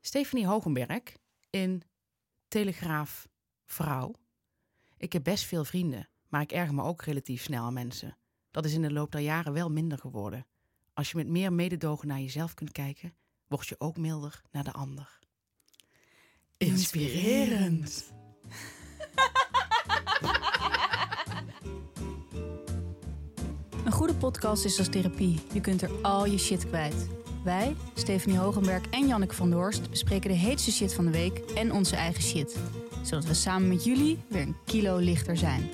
Stephanie Hogenberg in Telegraaf Vrouw. Ik heb best veel vrienden, maar ik erger me ook relatief snel aan mensen. Dat is in de loop der jaren wel minder geworden. Als je met meer mededogen naar jezelf kunt kijken, word je ook milder naar de ander. Inspirerend. Een goede podcast is als therapie. Je kunt er al je shit kwijt. Wij, Stephanie Hogenberg en Janneke van Doorst, bespreken de heetste shit van de week en onze eigen shit. Zodat we samen met jullie weer een kilo lichter zijn.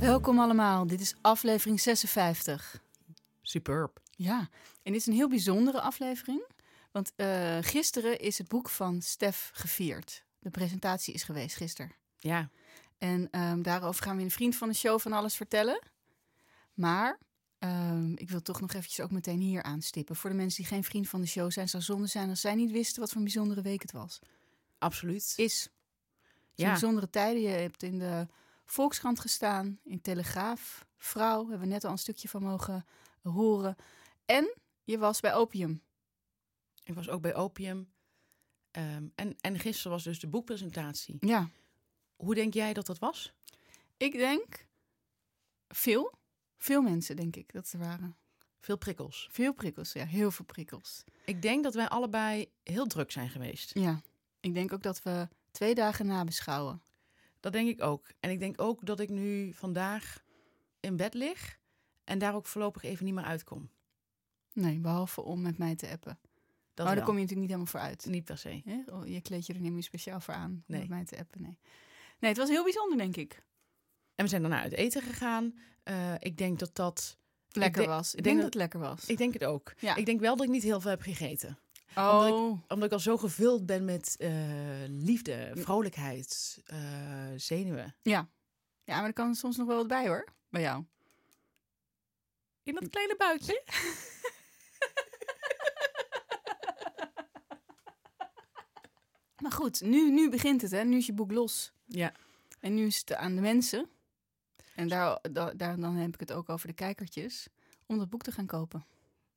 Welkom allemaal, dit is aflevering 56. Superb. Ja, en dit is een heel bijzondere aflevering. Want eh, gisteren is het boek van Stef gevierd. De presentatie is geweest gisteren. Ja, En ehm, daarover gaan we in een vriend van de show van alles vertellen. Maar ehm, ik wil toch nog eventjes ook meteen hier aanstippen. Voor de mensen die geen vriend van de show zijn, zou zonde zijn als zij niet wisten wat voor een bijzondere week het was. absoluut. Is. Het zijn Ja, Bijzondere tijden. Je hebt in de Volkskrant gestaan, in Telegraaf, Vrouw, hebben we net al een stukje van mogen horen. En je was bij Opium. ik was ook bij Opium. Ehm, en, en gisteren was dus de boekpresentatie. Ja. Hoe denk jij dat dat was? Ik denk veel. Veel mensen, denk ik, dat er waren. Veel prikkels. Veel prikkels, ja. Heel veel prikkels. Ik denk dat wij allebei heel druk zijn geweest. Ja, ik denk ook dat we twee dagen nabeschouwen. Dat denk ik ook. En ik denk ook dat ik nu vandaag in bed lig en daar ook voorlopig even niet meer uitkom. Nee, behalve om met mij te appen. Dat maar wel. Oh, daar kom je natuurlijk niet helemaal voor uit. niet per se. Hè? Oh, Je kleed je er niet meer speciaal voor aan om Nee. met mij te appen. Nee. nee, het was heel bijzonder, denk ik. En we zijn daarna uit eten gegaan. Eh, ik denk dat dat. Lekker denk- was. Ik ik denk denk dat het lekker was. Ik denk het ook. Ja. Ik denk wel dat ik niet heel veel heb gegeten. oh, Omdat ik al zo gevuld ben met eh, liefde, vrolijkheid, eh, zenuwen. ja. Ja, maar er kan soms nog wel wat bij hoor, bij jou. In dat kleine buikje. Maar goed, nu, nu begint het hè. Nu is je boek los. Ja. En nu is het aan de mensen. En daar, da- daar, dan heb ik het ook over de kijkertjes. Om dat boek te gaan kopen.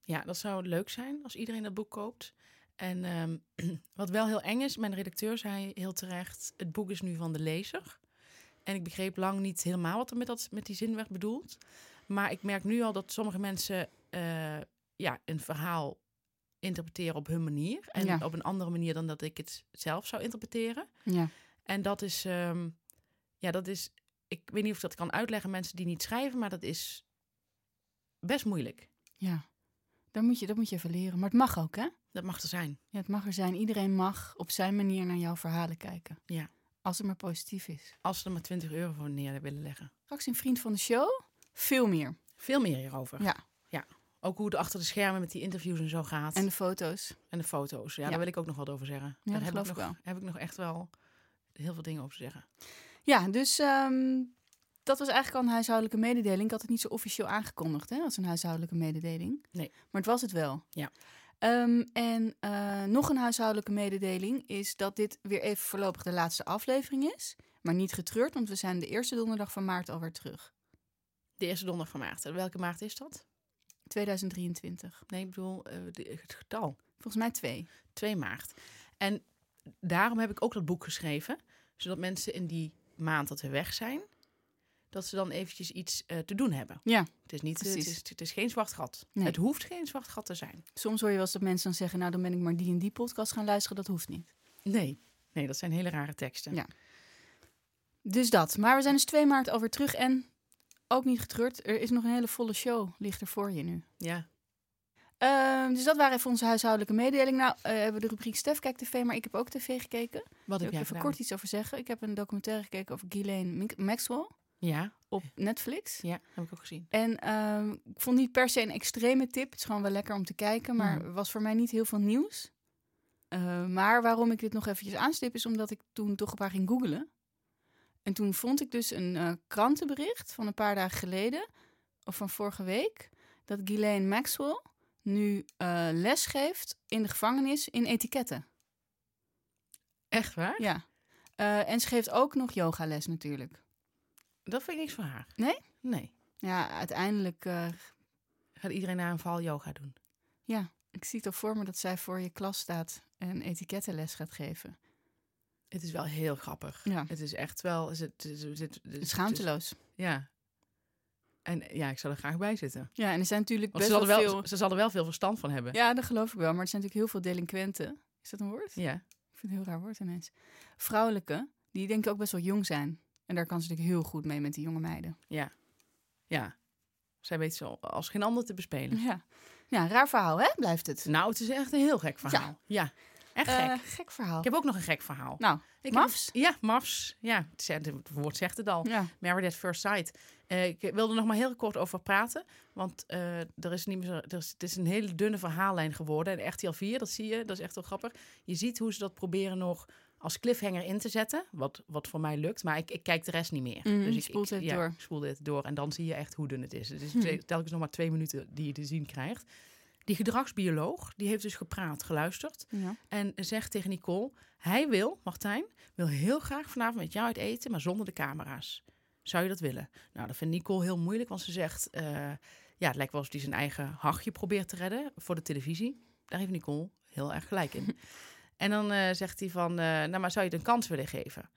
ja, dat zou leuk zijn als iedereen dat boek koopt. En ehm, wat wel heel eng is, mijn redacteur zei heel terecht: het boek is nu van de lezer. En ik begreep lang niet helemaal wat er met, dat, met die zin werd bedoeld. Maar ik merk nu al dat sommige mensen eh, ja, een verhaal interpreteren op hun manier. En Ja. op een andere manier dan dat ik het zelf zou interpreteren. Ja. En dat is, ehm, ja, dat is, ik weet niet of ik dat kan uitleggen, aan mensen die niet schrijven, maar dat is best moeilijk. Ja, dat moet, je, dat moet je even leren. Maar het mag ook, hè? Dat mag er zijn. Ja, het mag er zijn. Iedereen mag op zijn manier naar jouw verhalen kijken. Ja. Als het maar positief is. Als ze er maar 20 euro voor neer willen leggen. Straks een vriend van de show, veel meer. Veel meer hierover. Ja. Ook hoe het achter de schermen met die interviews en zo gaat. En En, de foto's. de foto's. Ja, Ja. daar wil ik ook nog wat over zeggen. daar dat heb geloof ik, ik nog, heb ik nog echt wel heel veel dingen over te zeggen. Ja, dus ehm, dat was eigenlijk al een huishoudelijke mededeling. Ik had het niet zo officieel aangekondigd, hè, als een huishoudelijke mededeling. Nee. Maar het was het wel. Ja. Ehm, en eh, nog een huishoudelijke mededeling is dat dit weer even voorlopig de laatste aflevering is. Maar niet getreurd, want we zijn de eerste donderdag van maart alweer terug. De eerste donderdag van maart. En Welke maart is dat? 2023. Nee, ik bedoel eh, de- het getal. Volgens mij twee. 2 maart. En daarom heb ik ook dat boek geschreven. Zodat mensen in die maand dat we weg zijn, dat ze dan eventjes iets eh, te doen hebben. Ja. Het is, niet, het Precies. is, het is geen zwart gat. Nee. Het hoeft geen zwart gat te zijn. Soms hoor je wel eens dat mensen dan zeggen... nou, dan ben ik maar die en die podcast gaan luisteren. Dat hoeft niet. Nee. Nee, dat zijn hele rare teksten. Ja. Dus dat. Maar we zijn dus 2 maart alweer terug en ook niet getreurd. Er is nog een hele volle show, ligt er voor je nu. Ja. Ehm, dus dat waren even onze huishoudelijke mededeling. Nou, eh, hebben we de rubriek Stef kijkt tv, maar ik heb ook tv gekeken. Wat Daar heb wil ik jij even gedaan? kort iets over zeggen. Ik heb een documentaire gekeken over Ghislaine Mink- Maxwell Ja. op Netflix. Ja, heb ik ook gezien. En ehm, ik vond niet per se een extreme tip. Het is gewoon wel lekker om te kijken, maar Mhm. was voor mij niet heel veel nieuws. Eh, maar waarom ik dit nog eventjes aanstip is omdat ik toen toch een paar ging googelen. En toen vond ik dus een eh, krantenbericht van een paar dagen geleden, of van vorige week, dat Ghislaine Maxwell nu eh les geeft in de gevangenis in etiketten. Echt waar? Ja. Eh, en ze geeft ook nog yogales natuurlijk. Dat vind ik niks voor haar. Nee? Nee. Ja, uiteindelijk eh, Gaat iedereen na een val yoga doen? Ja. Ik zie het al voor me dat zij voor je klas staat en etikettenles gaat geven. Het is wel heel grappig. Ja. Het is echt wel... Het, het, het, het- het- Dus het- Schaamteloos. ja. En ja, ik zou er graag bij zitten. Ja, en er zijn natuurlijk Want best Oh, ze zal, er wel, wel, veel... ze zal er wel veel verstand van hebben. Ja, dat geloof ik wel. Maar er zijn natuurlijk heel veel delinquenten. Is dat een woord? Ja. Ik vind het een heel raar woord ineens. Vrouwelijke, die denk ik ook best wel jong zijn. En daar kan ze natuurlijk heel goed mee met die jonge meiden. Ja. Zij weet ze als geen ander te bespelen. Ja, ja raar verhaal hè, blijft het. Nou, het is echt een heel gek verhaal. Ja. Echt gek. Eh, gek verhaal. Ik heb ook nog een gek verhaal. Nou, Ik Mafs? heb- ja, Mafs. Ja, het zegt- het woord zegt het al. ja. Married at First Sight. Eh, ik wil er nog maar heel kort over praten. Want eh, er is niet meer zo, er is, het is een hele dunne verhaallijn geworden. En RTL 4, dat zie je, dat is echt wel grappig. Je ziet hoe ze dat proberen nog als cliffhanger in te zetten. Wat, wat voor mij lukt. Maar ik, ik kijk de rest niet meer. Mhm, dus ik, spoelt ik- het ja, door. ik spoel dit door. En dan zie je echt hoe dun het is. Het is Hm. twee- telkens nog maar twee minuten die je te zien krijgt. Die gedragsbioloog, die heeft dus gepraat, geluisterd. ja. En zegt tegen Nicole: Hij wil, Martijn, wil heel graag vanavond met jou uit eten, maar zonder de camera's. Zou je dat willen? Nou, dat vindt Nicole heel moeilijk, want ze zegt: eh, Ja, het lijkt wel alsof hij zijn eigen hachje probeert te redden voor de televisie. Daar heeft Nicole heel erg gelijk in. en dan eh, zegt hij: van, eh, Nou, maar zou je het een kans willen geven?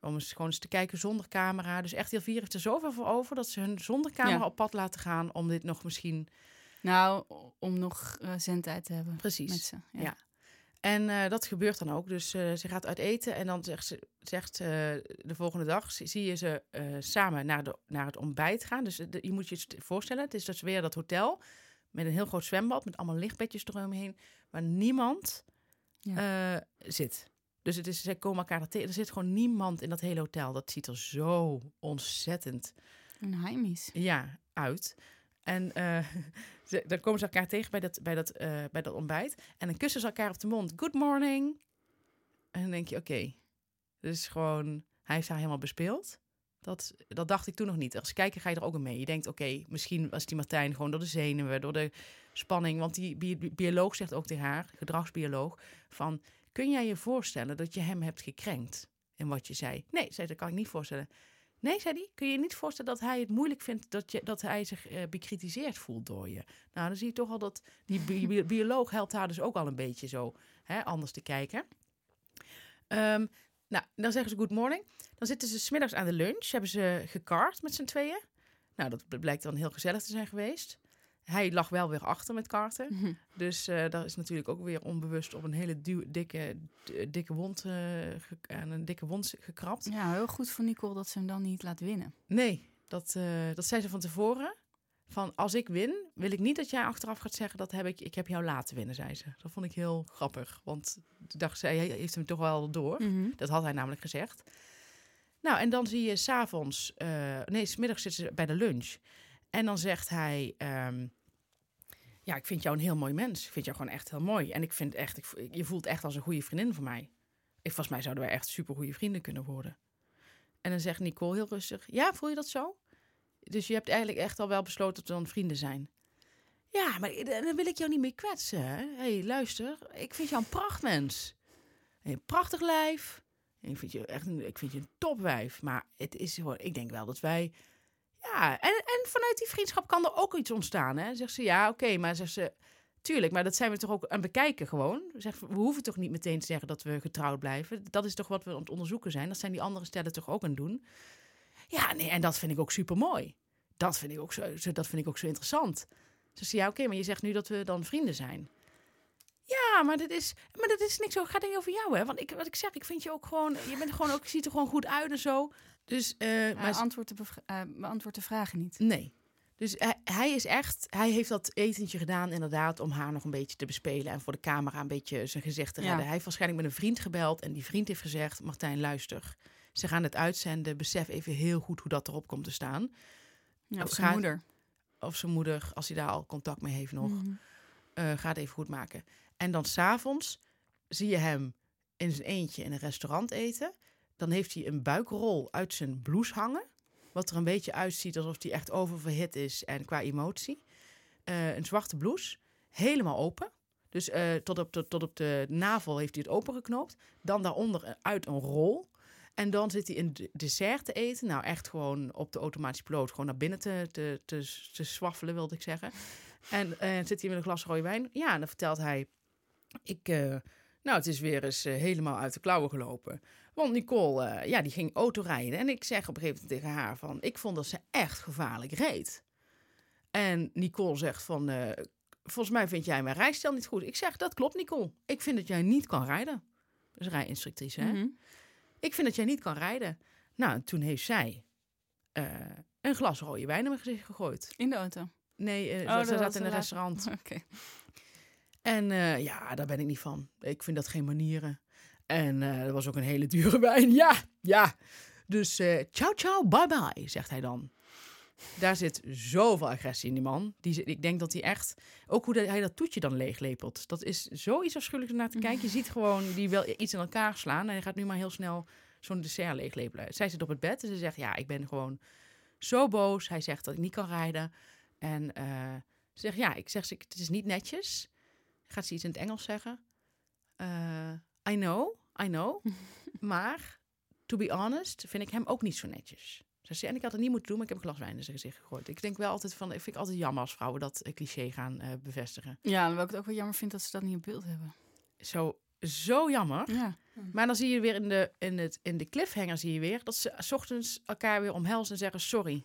Om eens gewoon eens te kijken zonder camera. Dus RTL 4 heeft er zoveel voor over dat ze hun zonder camera Ja. op pad laten gaan. Om dit nog misschien. Nou, om nog eh, zendtijd te hebben Precies. met ze. Ja. Ja. En eh, dat gebeurt dan ook. Dus eh, ze gaat uit eten en dan zegt, ze, zegt eh, de volgende dag zie zie je ze eh, samen naar, de, naar het ontbijt gaan. Dus eh, de- je moet je het voorstellen, het is dus weer dat hotel met een heel groot zwembad met allemaal lichtbedjes eromheen, waar niemand eh, zit. Dus het is, ze komen elkaar daar tegen. Er zit gewoon niemand in dat hele hotel. Dat ziet er zo ontzettend Een heimies. ja, uit. En eh, ze, dan komen ze elkaar tegen bij dat, bij, dat, eh, bij dat ontbijt. En dan kussen ze elkaar op de mond. Good morning. En dan denk je, oké. Dus gewoon, hij heeft haar helemaal bespeeld. Dat, dat dacht ik toen nog niet. Als kijker ga je er ook in mee. Je denkt, oké, misschien was die Martijn gewoon door de zenuwen, door de spanning. Want die bi- bioloog zegt ook tegen haar, gedragsbioloog, van... Kun jij je voorstellen dat je hem hebt gekrenkt in wat je zei? Nee, zei, ze, dat kan ik niet voorstellen. Nee, zei hij, kun je je niet voorstellen dat hij het moeilijk vindt dat, je, dat hij zich eh, bekritiseerd voelt door je? Nou, dan zie je toch al dat die bi- bi- bioloog helpt haar dus ook al een beetje zo hè, anders te kijken. Ehm, nou, dan zeggen ze good morning. Dan zitten ze smiddags aan de lunch, hebben ze gekart met z'n tweeën. Nou, dat bl- blijkt dan heel gezellig te zijn geweest. Hij lag wel weer achter met karten. Dus eh daar is natuurlijk ook weer onbewust op een hele duw- dikke, d- dikke wond, eh, ge- aan een dikke wond gekrapt. Ja, heel goed voor Nicole dat ze hem dan niet laat winnen. Nee, dat, eh, dat zei ze van tevoren. Van als ik win, wil ik niet dat jij achteraf gaat zeggen dat heb ik, ik heb jou laten winnen, zei ze. Dat vond ik heel grappig, want toen dacht zij, hij heeft hem toch wel door. Dat had hij namelijk gezegd. Nou, en dan zie je s'avonds, eh nee, smiddags zitten ze bij de lunch. En dan zegt hij, ehm, ja, ik vind jou een heel mooi mens. Ik vind jou gewoon echt heel mooi. En ik vind echt, ik, vo- je voelt echt als een goede vriendin voor mij. Ik, volgens mij zouden wij echt super goede vrienden kunnen worden. En dan zegt Nicole heel rustig, ja, voel je dat zo? Dus je hebt eigenlijk echt al wel besloten dat we dan vrienden zijn. Ja, maar i- dan wil ik jou niet meer kwetsen. hè. hey, luister, ik vind jou een prachtmens. Een prachtig lijf. Ik vind je echt een, ik vind je een topwijf. Maar het is gewoon, ik denk wel dat wij. Ja, en, en vanuit die vriendschap kan er ook iets ontstaan. Hè? Zegt ze ja, oké, maar zegt ze. Tuurlijk, maar dat zijn we toch ook aan het bekijken gewoon. Zegt, we hoeven toch niet meteen te zeggen dat we getrouwd blijven. Dat is toch wat we aan het onderzoeken zijn. Dat zijn die andere stellen toch ook aan het doen. Ja, nee, en dat vind ik ook super mooi. Dat vind ik ook zo, zo- dat vind ik ook zo interessant. Zegt ze ja, oké, maar je zegt nu dat we dan vrienden zijn. Ja, maar dat is, maar dat is niks. zo. Het gaat niet over jou, hè? Want ik, wat ik zeg, ik vind je ook gewoon. Je bent gewoon ook. Je ziet er gewoon goed uit en zo. Dus. eh, Maar antwoord de bevra- eh, beantwoord de vragen niet. Nee. Dus hij, hij is echt, hij heeft dat etentje gedaan inderdaad om haar nog een beetje te bespelen en voor de camera een beetje zijn gezicht te Ja. redden. Hij heeft waarschijnlijk met een vriend gebeld en die vriend heeft gezegd: Martijn, luister, ze gaan het uitzenden, besef even heel goed hoe dat erop komt te staan. Ja, Of of zijn gaat- moeder. Of zijn moeder, als hij daar al contact mee heeft nog, Mhm. eh, ga het even goed maken. En dan s'avonds zie je hem in zijn eentje in een restaurant eten. Dan heeft hij een buikrol uit zijn blouse hangen. Wat er een beetje uitziet alsof hij echt oververhit is en qua emotie. Eh, een zwarte blouse, helemaal open. Dus eh, tot, op de, tot op de navel heeft hij het opengeknoopt. Dan daaronder een- uit een rol. En dan zit hij een d- dessert te eten. Nou, echt gewoon op de automatische piloot. Gewoon naar binnen te, te, te, te swaffelen, wilde ik zeggen. En eh, zit hij met een glas rode wijn? Ja, en dan vertelt hij... Ik, eh, nou, het is weer eens eh, helemaal uit de klauwen gelopen. Want Nicole, eh, ja, die ging autorijden. En ik zeg op een gegeven moment tegen haar van... Ik vond dat ze echt gevaarlijk reed. En Nicole zegt van... eh, volgens mij vind jij mijn rijstijl niet goed. Ik zeg, dat klopt, Nicole. Ik vind dat jij niet kan rijden. Dus rijinstructrice, hè? Mhm. Ik vind dat jij niet kan rijden. Nou, en toen heeft zij eh, een glas rode wijn in mijn gezicht gegooid. In de auto. Nee, eh, Oh, ze- dat ze had zat ze in een later. restaurant. Oké. En eh, ja, daar ben ik niet van. Ik vind dat geen manieren. En eh dat was ook een hele dure wijn. Ja, ja. Dus eh, ciao, ciao, bye, bye, zegt hij dan. Daar zit zoveel agressie in die man. Die, zit- ik denk dat hij echt... Ook hoe dat- hij dat toetje dan leeglepelt. Dat is zoiets afschuwelijks om naar te kijken. Je ziet gewoon, die wil iets in elkaar slaan. En hij gaat nu maar heel snel zo'n dessert leeglepelen. Zij zit op het bed en ze zegt... Ja, ik ben gewoon zo boos. Hij zegt dat ik niet kan rijden. En eh, ze zegt... Ja, ik zeg, het is niet netjes gaat ze iets in het Engels zeggen. Eh, I know, I know. maar, to be honest, vind ik hem ook niet zo netjes. Ze zei, en ik had het niet moeten doen, maar ik heb een glas wijn in zijn gezicht gegooid. Ik denk wel altijd van, ik vind het altijd jammer als vrouwen dat eh, cliché gaan eh, bevestigen. Ja, alhoewel ik het ook wel jammer vind dat ze dat niet op beeld hebben. Zo, zo jammer. Ja. Maar dan zie je weer in de, in het, in de cliffhanger zie je weer dat ze 's ochtends elkaar weer omhelzen en zeggen sorry.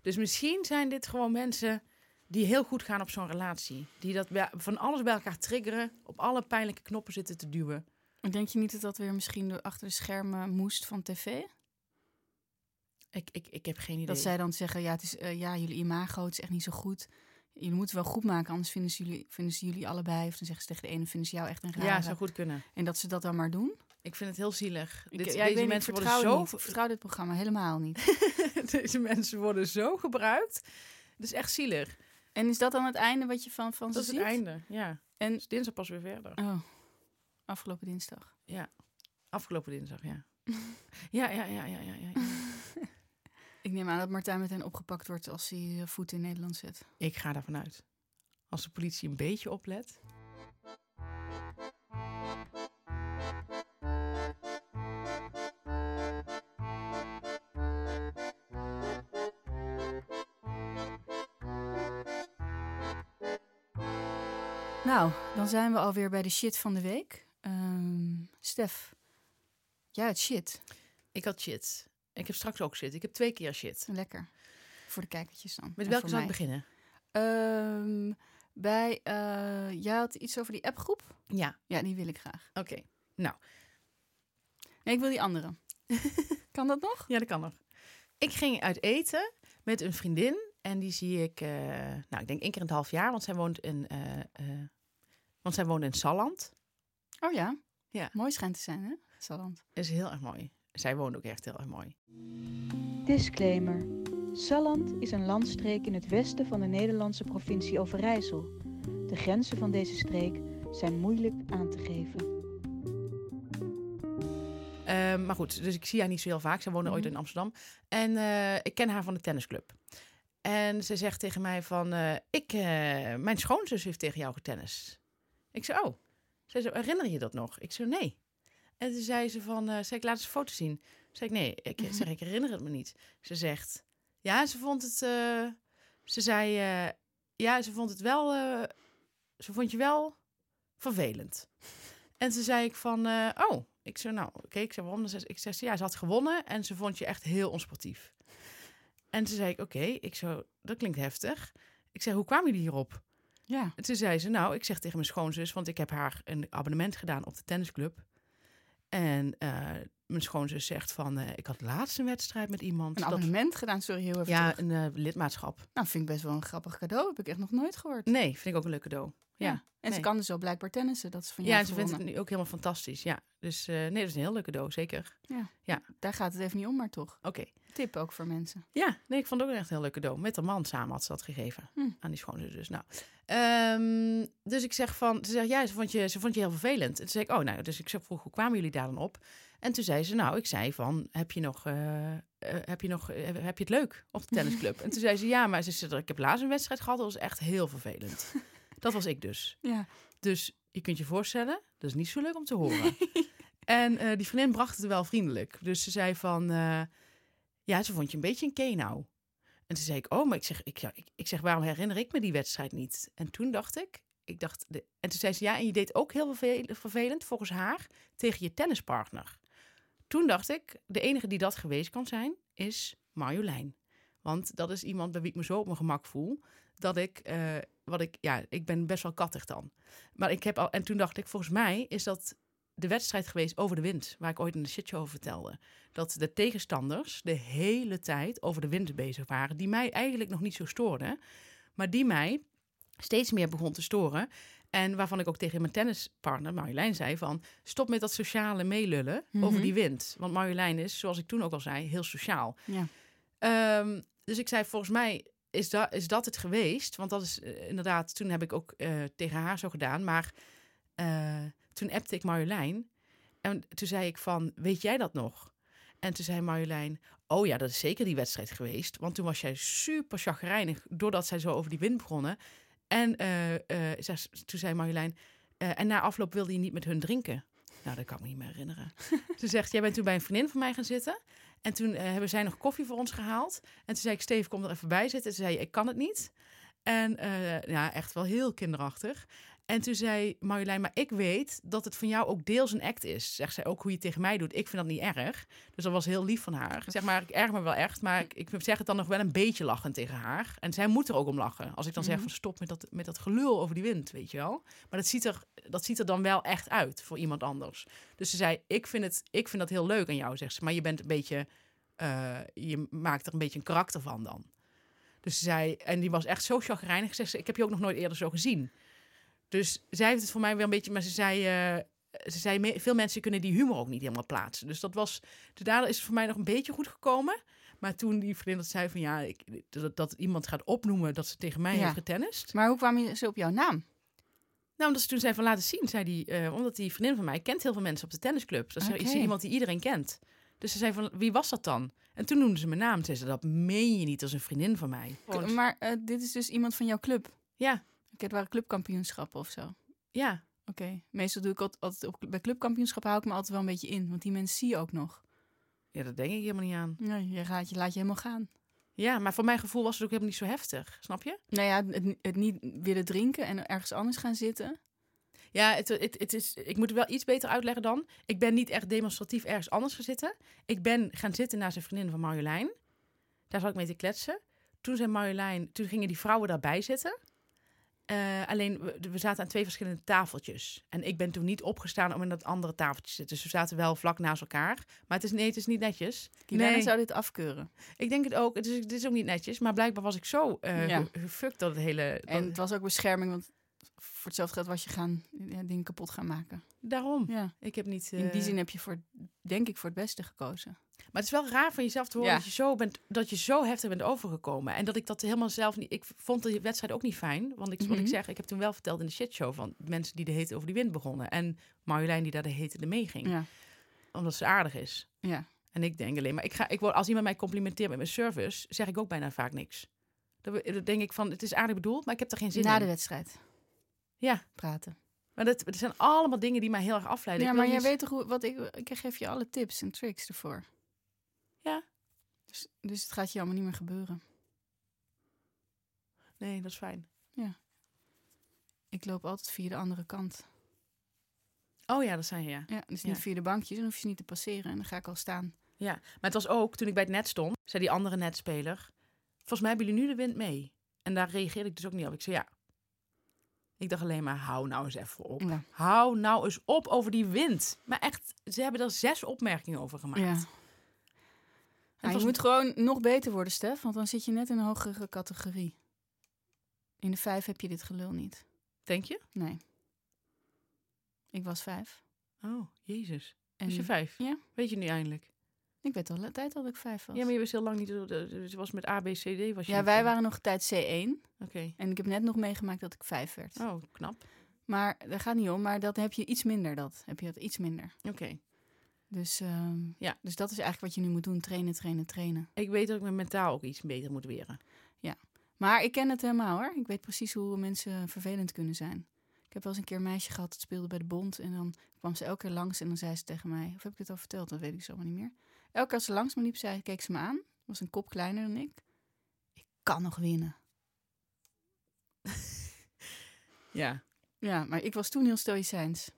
Dus misschien zijn dit gewoon mensen die heel goed gaan op zo'n relatie. Die dat bij- van alles bij elkaar triggeren, op alle pijnlijke knoppen zitten te duwen. Denk je niet dat dat weer misschien door achter de schermen moest van tv? Ik, ik, ik heb geen idee. Dat zij dan zeggen, ja, het is, eh, ja, jullie imago, het is echt niet zo goed. Jullie moeten het wel goed maken, anders vinden ze jullie, vinden ze jullie allebei. Of dan zeggen ze tegen de ene, vinden ze jou echt een rare. ja, zou goed kunnen. En dat ze dat dan maar doen. Ik vind het heel zielig. Ik, Dit- ja, ik weet deze, niet, mensen ik worden vertrouw zo, het niet. Ik vertrouw dit programma helemaal niet. deze mensen worden zo gebruikt. Dat is echt zielig. En is dat dan het einde wat je van, van Dat, ze is ziet? het einde. Ja. En- Dus dinsdag pas weer verder. Oh, afgelopen dinsdag. Afgelopen dinsdag, ja. ja, ja, ja, ja, ja, ja. Ik neem aan dat Martijn meteen opgepakt wordt als hij eh, voet in Nederland zet. Ik ga daarvan uit. Als de politie een beetje oplet. Nou, dan zijn we alweer bij de shit van de week. Ehm, Stef, ja, het shit. Ik had shit. Ik heb straks ook shit. Ik heb twee keer shit. Lekker. Voor de kijkertjes dan. Met En welke voor zou ik mij. beginnen? Ehm, bij, eh, jij had iets over die appgroep? Ja, Ja, die wil ik graag. oké. Nee, ik wil die andere. kan dat nog? Ja, dat kan nog. Ik ging uit eten met een vriendin. En die zie ik, eh, nou, ik denk één keer in het half jaar. Want zij woont in, eh, eh, want zij woont in Salland. Oh ja. Ja. Mooi schijnt te zijn, hè? Salland. is heel erg mooi. Zij woont ook echt heel erg mooi. Disclaimer. Salland is een landstreek in het westen van de Nederlandse provincie Overijssel. De grenzen van deze streek zijn moeilijk aan te geven. Ehm, maar goed, dus ik zie haar niet zo heel vaak. Zij woonde ooit Mhm. in Amsterdam. En eh, ik ken haar van de tennisclub. En ze zegt tegen mij van... eh, ik, eh, mijn schoonzus heeft tegen jou getennist. Ik zei, oh. Zij zei, herinner je dat nog? Ik zei, nee. En toen zei ze van... eh zei ik, laat eens een foto zien. Zei ik, nee. Ik, Mhm. zeg, ik herinner het me niet. Ze zegt... Ja, ze vond het... eh, ze zei... eh, ja, ze vond het wel... eh, ze vond je wel vervelend. En toen zei ik van... eh, oh. Ik zei, nou, oké. Ik zei, waarom? Dan zei ze- Ik zei, ze, ja, ze had gewonnen en ze vond je echt heel onsportief. En toen zei ik, oké. Ik zo, dat klinkt heftig. Ik zei, hoe kwamen jullie hierop? Ja. En toen zei ze, nou, ik zeg tegen mijn schoonzus, want ik heb haar een abonnement gedaan op de tennisclub. En eh, mijn schoonzus zegt van, eh, ik had laatst een wedstrijd met iemand. Een dat- abonnement gedaan, sorry, heel even ja, terug. een eh, lidmaatschap. Nou, vind ik best wel een grappig cadeau. Heb ik echt nog nooit gehoord. Nee, vind ik ook een leuk cadeau. Ja. En ze nee. kan dus wel blijkbaar tennissen. Dat is van Ja, jou en ze vindt het gewonnen. nu ook helemaal fantastisch. Ja, dus eh, nee, dat is een heel leuk cadeau, zeker. Daar gaat het even niet om, maar toch. Oké. Tip ook voor mensen. Ja, nee, ik vond het ook echt een heel leuk cadeau. Met haar man samen had ze dat gegeven. Hm. Aan die schoonzus dus. Nou, ehm, dus ik zeg van... Ze zegt, ja, ze vond je, ze vond je heel vervelend. En toen zei ik, oh nou, dus ik zeg, vroeg, hoe kwamen jullie daar dan op? En toen zei ze, nou, ik zei van, heb je nog... eh, eh, heb je, nog, eh, heb je het leuk op de tennisclub? en toen zei ze, ja, maar ze zei, ik heb laatst een wedstrijd gehad. Dat was echt heel vervelend. dat was ik dus. Ja. Dus je kunt je voorstellen, dat is niet zo leuk om te horen. en eh, die vriendin bracht het wel vriendelijk. Dus ze zei van, eh, ja, ze vond je een beetje een kenau. En toen zei ik, oh, maar ik zeg, ik, ja, ik, ik zeg, waarom herinner ik me die wedstrijd niet? En toen dacht ik, ik dacht, de, en toen zei ze, ja, en je deed ook heel vervel- vervelend, volgens haar, tegen je tennispartner. Toen dacht ik, de enige die dat geweest kan zijn, is Marjolein. Want dat is iemand bij wie ik me zo op mijn gemak voel, dat ik, eh, wat ik, ja, ik ben best wel kattig dan. Maar ik heb al, en toen dacht ik, volgens mij is dat de wedstrijd geweest over de wind, waar ik ooit in de shitshow over vertelde. Dat de tegenstanders de hele tijd over de wind bezig waren, die mij eigenlijk nog niet zo stoorden, maar die mij steeds meer begon te storen. En waarvan ik ook tegen mijn tennispartner Marjolein zei van... stop met dat sociale meelullen over Mhm. die wind. Want Marjolein is, zoals ik toen ook al zei, heel sociaal. Ja. Ehm, dus ik zei, volgens mij is, da is dat het geweest. Want dat is eh, inderdaad, toen heb ik ook eh, tegen haar zo gedaan. Maar eh, toen appte ik Marjolein. En toen zei ik van, weet jij dat nog? En toen zei Marjolein, oh ja, dat is zeker die wedstrijd geweest. Want toen was jij super chagrijnig doordat zij zo over die wind begonnen. En eh, eh, zei ze- toen zei Marjolein, eh, en na afloop wilde je niet met hun drinken. Nou, dat kan ik me niet meer herinneren. Ze zegt, jij bent toen bij een vriendin van mij gaan zitten. En toen eh, hebben zij nog koffie voor ons gehaald. En toen zei ik, Steve, kom er even bij zitten. Ze zei, ik kan het niet. En eh, ja, echt wel heel kinderachtig. En toen zei Marjolein, maar ik weet dat het van jou ook deels een act is. Zegt zij ook hoe je het tegen mij doet. Ik vind dat niet erg. Dus dat was heel lief van haar. Zeg maar, ik erg me wel echt. Maar ik, ik zeg het dan nog wel een beetje lachen tegen haar. En zij moet er ook om lachen. Als ik dan zeg Mhm. van stop met dat, met dat gelul over die wind, weet je wel. Maar dat ziet, er, dat ziet er dan wel echt uit voor iemand anders. Dus ze zei, ik vind, het, ik vind dat heel leuk aan jou, zegt ze. Maar je bent een beetje eh, je maakt er een beetje een karakter van dan. Dus ze zei, en die was echt zo chagrijnig. Zegt ze, ik heb je ook nog nooit eerder zo gezien. Dus zij heeft het voor mij weer een beetje, maar ze zei, eh, ze zei me- veel mensen kunnen die humor ook niet helemaal plaatsen. Dus dat was, dus daardoor is het voor mij nog een beetje goed gekomen. Maar toen die vriendin dat zei van ja, ik, dat, dat iemand gaat opnoemen dat ze tegen mij Ja. heeft getennist. Maar hoe kwam je ze op jouw naam? Nou, omdat ze toen zei van laten zien, zei die, eh, omdat die vriendin van mij kent heel veel mensen op de tennisclub. Dat is Oké. is iemand die iedereen kent. Dus ze zei van wie was dat dan? En toen noemde ze mijn naam. Toen zei ze dat meen je niet als een vriendin van mij. Gewoon- Maar eh, dit is dus iemand van jouw club. Oké, ja, het waren clubkampioenschappen of zo. Oké, ja, meestal doe ik altijd, altijd op, bij clubkampioenschappen hou ik me altijd wel een beetje in, want die mensen zie je ook nog. ja, dat denk ik helemaal niet aan. Nee, je, gaat, je laat je helemaal gaan. Ja, maar voor mijn gevoel was het ook helemaal niet zo heftig, snap je? Nou ja, het, het niet willen drinken en ergens anders gaan zitten. Ja, het, het, het is, ik moet het wel iets beter uitleggen dan. Ik ben niet echt demonstratief ergens anders gaan zitten. Ik ben gaan zitten naast een vriendin van Marjolein. Daar zat ik mee te kletsen. Toen zei Marjolein, toen gingen die vrouwen daarbij zitten. Eh, alleen, we, we zaten aan twee verschillende tafeltjes. En ik ben toen niet opgestaan om aan dat andere tafeltje te zitten. Dus we zaten wel vlak naast elkaar. Maar het is, nee, het is niet netjes. Kilana Nee. zou dit afkeuren. Ik denk het ook. Het is, het is ook niet netjes. Maar blijkbaar was ik zo eh Ja. ge- gefukt dat het hele... dat- En het was ook bescherming, want voor hetzelfde geld was je gaan ja, dingen kapot gaan maken. daarom. Ja. Ik heb niet... In die eh, zin heb je voor, denk ik, voor het beste gekozen. Maar het is wel raar van jezelf te horen Ja. dat, je zo bent, dat je zo heftig bent overgekomen. En dat ik dat helemaal zelf niet... Ik vond de wedstrijd ook niet fijn. Want ik, wat ik Mhm. zeg, ik heb toen wel verteld in de shitshow... van mensen die de hete over die wind begonnen. En Marjolein die daar de hete mee ging. Ja. Omdat ze aardig is. Ja. En ik denk alleen maar... Ik ga, ik word, als iemand mij complimenteert met mijn service... zeg ik ook bijna vaak niks. Dan dan denk ik van, het is aardig bedoeld, maar ik heb er geen zin Na in. de wedstrijd. Ja. Praten. Maar dat, het zijn allemaal dingen die mij heel erg afleiden. ja, Ik maar wil jij niet- weet toch hoe, wat ik, ik geef je alle tips en tricks ervoor. Ja. Dus, dus het gaat je allemaal niet meer gebeuren. Nee, dat is fijn. Ik loop altijd via de andere kant. Oh ja, dat zijn ja. Ja, dus niet Ja. via de bankjes, dan hoef je ze niet te passeren en dan ga ik al staan. Ja, maar het was ook toen ik bij het net stond, zei die andere netspeler: Volgens mij hebben jullie nu de wind mee. En daar reageerde ik dus ook niet op. Ik zei ja. Ik dacht alleen maar: hou nou eens even op. Ja. Hou nou eens op over die wind. Maar echt, ze hebben daar zes opmerkingen over gemaakt. Ja. Het Ah, was- je moet gewoon nog beter worden, Stef, want dan zit je net in een hogere categorie. In de vijf heb je dit gelul niet. Denk je? Nee. Ik was vijf. Oh, jezus. En was je vijf? Ja. Weet je nu eindelijk? Ik weet al tijd dat ik vijf was. Ja, maar je wist heel lang niet. Ze was met A, B, C, D. Was je Ja, nog wij toen. waren nog tijd C1 Oké. en ik heb net nog meegemaakt dat ik vijf werd. Oh, knap. Maar daar gaat niet om, maar dat heb je iets minder dat. Heb je dat iets minder. Oké. Dus, ehm, Ja. dus dat is eigenlijk wat je nu moet doen, trainen, trainen, trainen. Ik weet dat ik mijn mentaal ook iets beter moet weren. Maar ik ken het helemaal hoor. Ik weet precies hoe mensen vervelend kunnen zijn. Ik heb wel eens een keer een meisje gehad dat speelde bij de bond. En dan kwam ze elke keer langs en dan zei ze tegen mij... Of heb ik dus dit al verteld? Dat weet ik zo maar niet meer. Elke keer als ze langs me liep, zei, keek ze me aan. Was een kop kleiner dan ik. Ik kan nog winnen. Ja. Ja, maar ik was toen heel stoïcijns.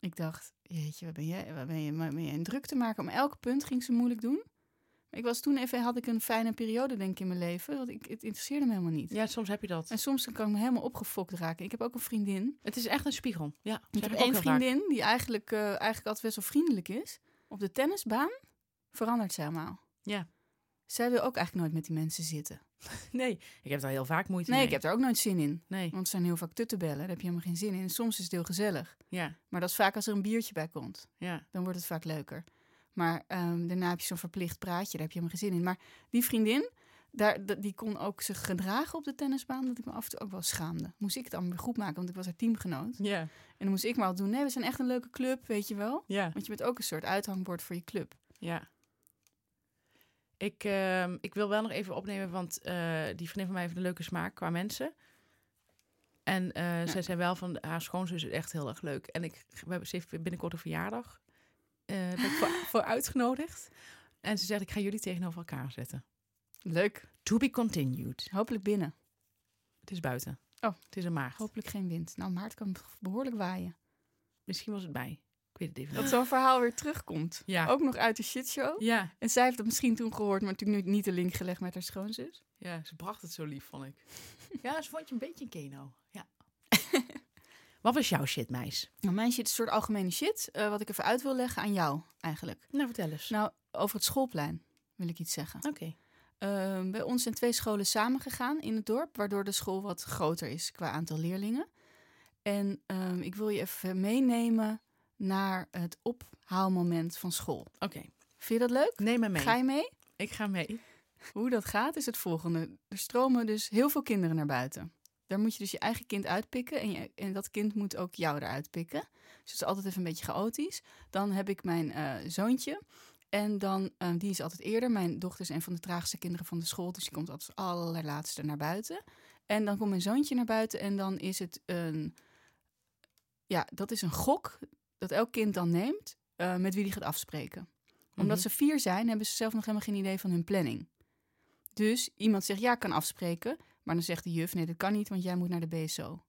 Ik dacht, jeetje, waar ben jij, waar ben je, waar ben je in druk te maken? Om elk punt ging ze moeilijk doen. Maar ik was toen even, had ik een fijne periode denk ik in mijn leven. Want ik, het interesseerde me helemaal niet. ja, soms heb je dat. En soms kan ik me helemaal opgefokt raken. Ik heb ook een vriendin. Het is echt een spiegel. Ja, zeg Ik heb ik ook één heel vaak. vriendin die eigenlijk, eh, eigenlijk altijd best wel vriendelijk is. Op de tennisbaan verandert zij helemaal. Ja. Zij wil ook eigenlijk nooit met die mensen zitten. Nee, ik heb daar heel vaak moeite Nee, mee. ik heb daar ook nooit zin in. Nee, Want ze zijn heel vaak tuttebellen. Daar heb je helemaal geen zin in. En soms is het heel gezellig. ja, Maar dat is vaak als er een biertje bij komt. ja. Dan wordt het vaak leuker. Maar ehm, daarna heb je zo'n verplicht praatje. Daar heb je helemaal geen zin in. Maar die vriendin, daar, d- die kon ook zich gedragen op de tennisbaan. Dat ik me af en toe ook wel schaamde. Moest ik het allemaal weer goed maken, want ik was haar teamgenoot. Ja, En dan moest ik maar al doen. Nee, we zijn echt een leuke club, weet je wel. ja, Want je bent ook een soort uithangbord voor je club. ja. Ik, ehm, ik wil wel nog even opnemen, want eh, die vriendin van mij heeft een leuke smaak qua mensen. En eh, zij zei wel van, haar schoonzus is echt heel erg leuk. En ik, we hebben, ze heeft binnenkort een verjaardag. eh ben ik voor, voor uitgenodigd. En ze zegt, ik ga jullie tegenover elkaar zetten. Leuk. To be continued. Hopelijk binnen. Het is buiten. Oh. Het is een maagd. Hopelijk geen wind. Nou, Maart kan behoorlijk waaien. Misschien was het bij. Ik weet het even Dat niet. zo'n verhaal weer terugkomt. Ja. Ook nog uit de shitshow. Ja, En zij heeft dat misschien toen gehoord, maar natuurlijk nu niet de link gelegd met haar schoonzus. ja, ze bracht het zo lief, vond ik. ja, ze vond je een beetje een keno. Ja. Wat was jouw shit, meis? Nou, mijn shit is een soort algemene shit, eh, wat ik even uit wil leggen aan jou eigenlijk. Nou, vertel eens. Nou, over het schoolplein wil ik iets zeggen. Oké. Ehm, bij ons zijn twee scholen samengegaan in het dorp, waardoor de school wat groter is qua aantal leerlingen. En ehm, ik wil je even meenemen naar het ophaalmoment van school. Oké. Vind je dat leuk? Neem me mee. Ga je mee? Ik ga mee. Hoe dat gaat is het volgende. Er stromen dus heel veel kinderen naar buiten. Daar moet je dus je eigen kind uitpikken en, je, en dat kind moet ook jou eruit pikken. Dus het is altijd even een beetje chaotisch. Dan heb ik mijn eh, zoontje en dan, eh, die is altijd eerder. Mijn dochter is een van de traagste kinderen van de school, dus die komt als allerlaatste naar buiten. En dan komt mijn zoontje naar buiten en dan is het een, ja, dat is een gok dat elk kind dan neemt eh, met wie die gaat afspreken. Omdat ze vier zijn, hebben ze zelf nog helemaal geen idee van hun planning. Dus iemand zegt ja, ik kan afspreken. Maar dan zegt de juf: nee, dat kan niet, want jij moet naar de BSO.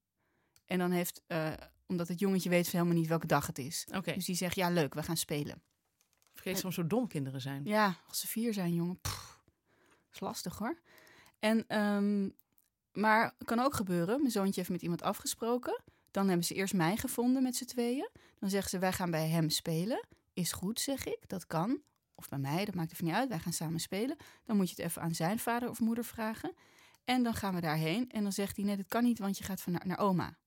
En dan heeft, eh, omdat het jongetje weet helemaal niet welke dag het is. Oké. Dus die zegt ja, leuk, we gaan spelen. Vergeet soms hoe dom kinderen zijn. Ja, als ze vier zijn, jongen. pff, is lastig hoor. En, ehm, maar kan ook gebeuren. Mijn zoontje heeft met iemand afgesproken. Dan hebben ze eerst mij gevonden met z'n tweeën. Dan zeggen ze, wij gaan bij hem spelen. Is goed, zeg ik. Dat kan. Of bij mij, dat maakt even niet uit. Wij gaan samen spelen. Dan moet je het even aan zijn vader of moeder vragen. En dan gaan we daarheen. En dan zegt hij, nee, dat kan niet, want je gaat van naar, naar oma.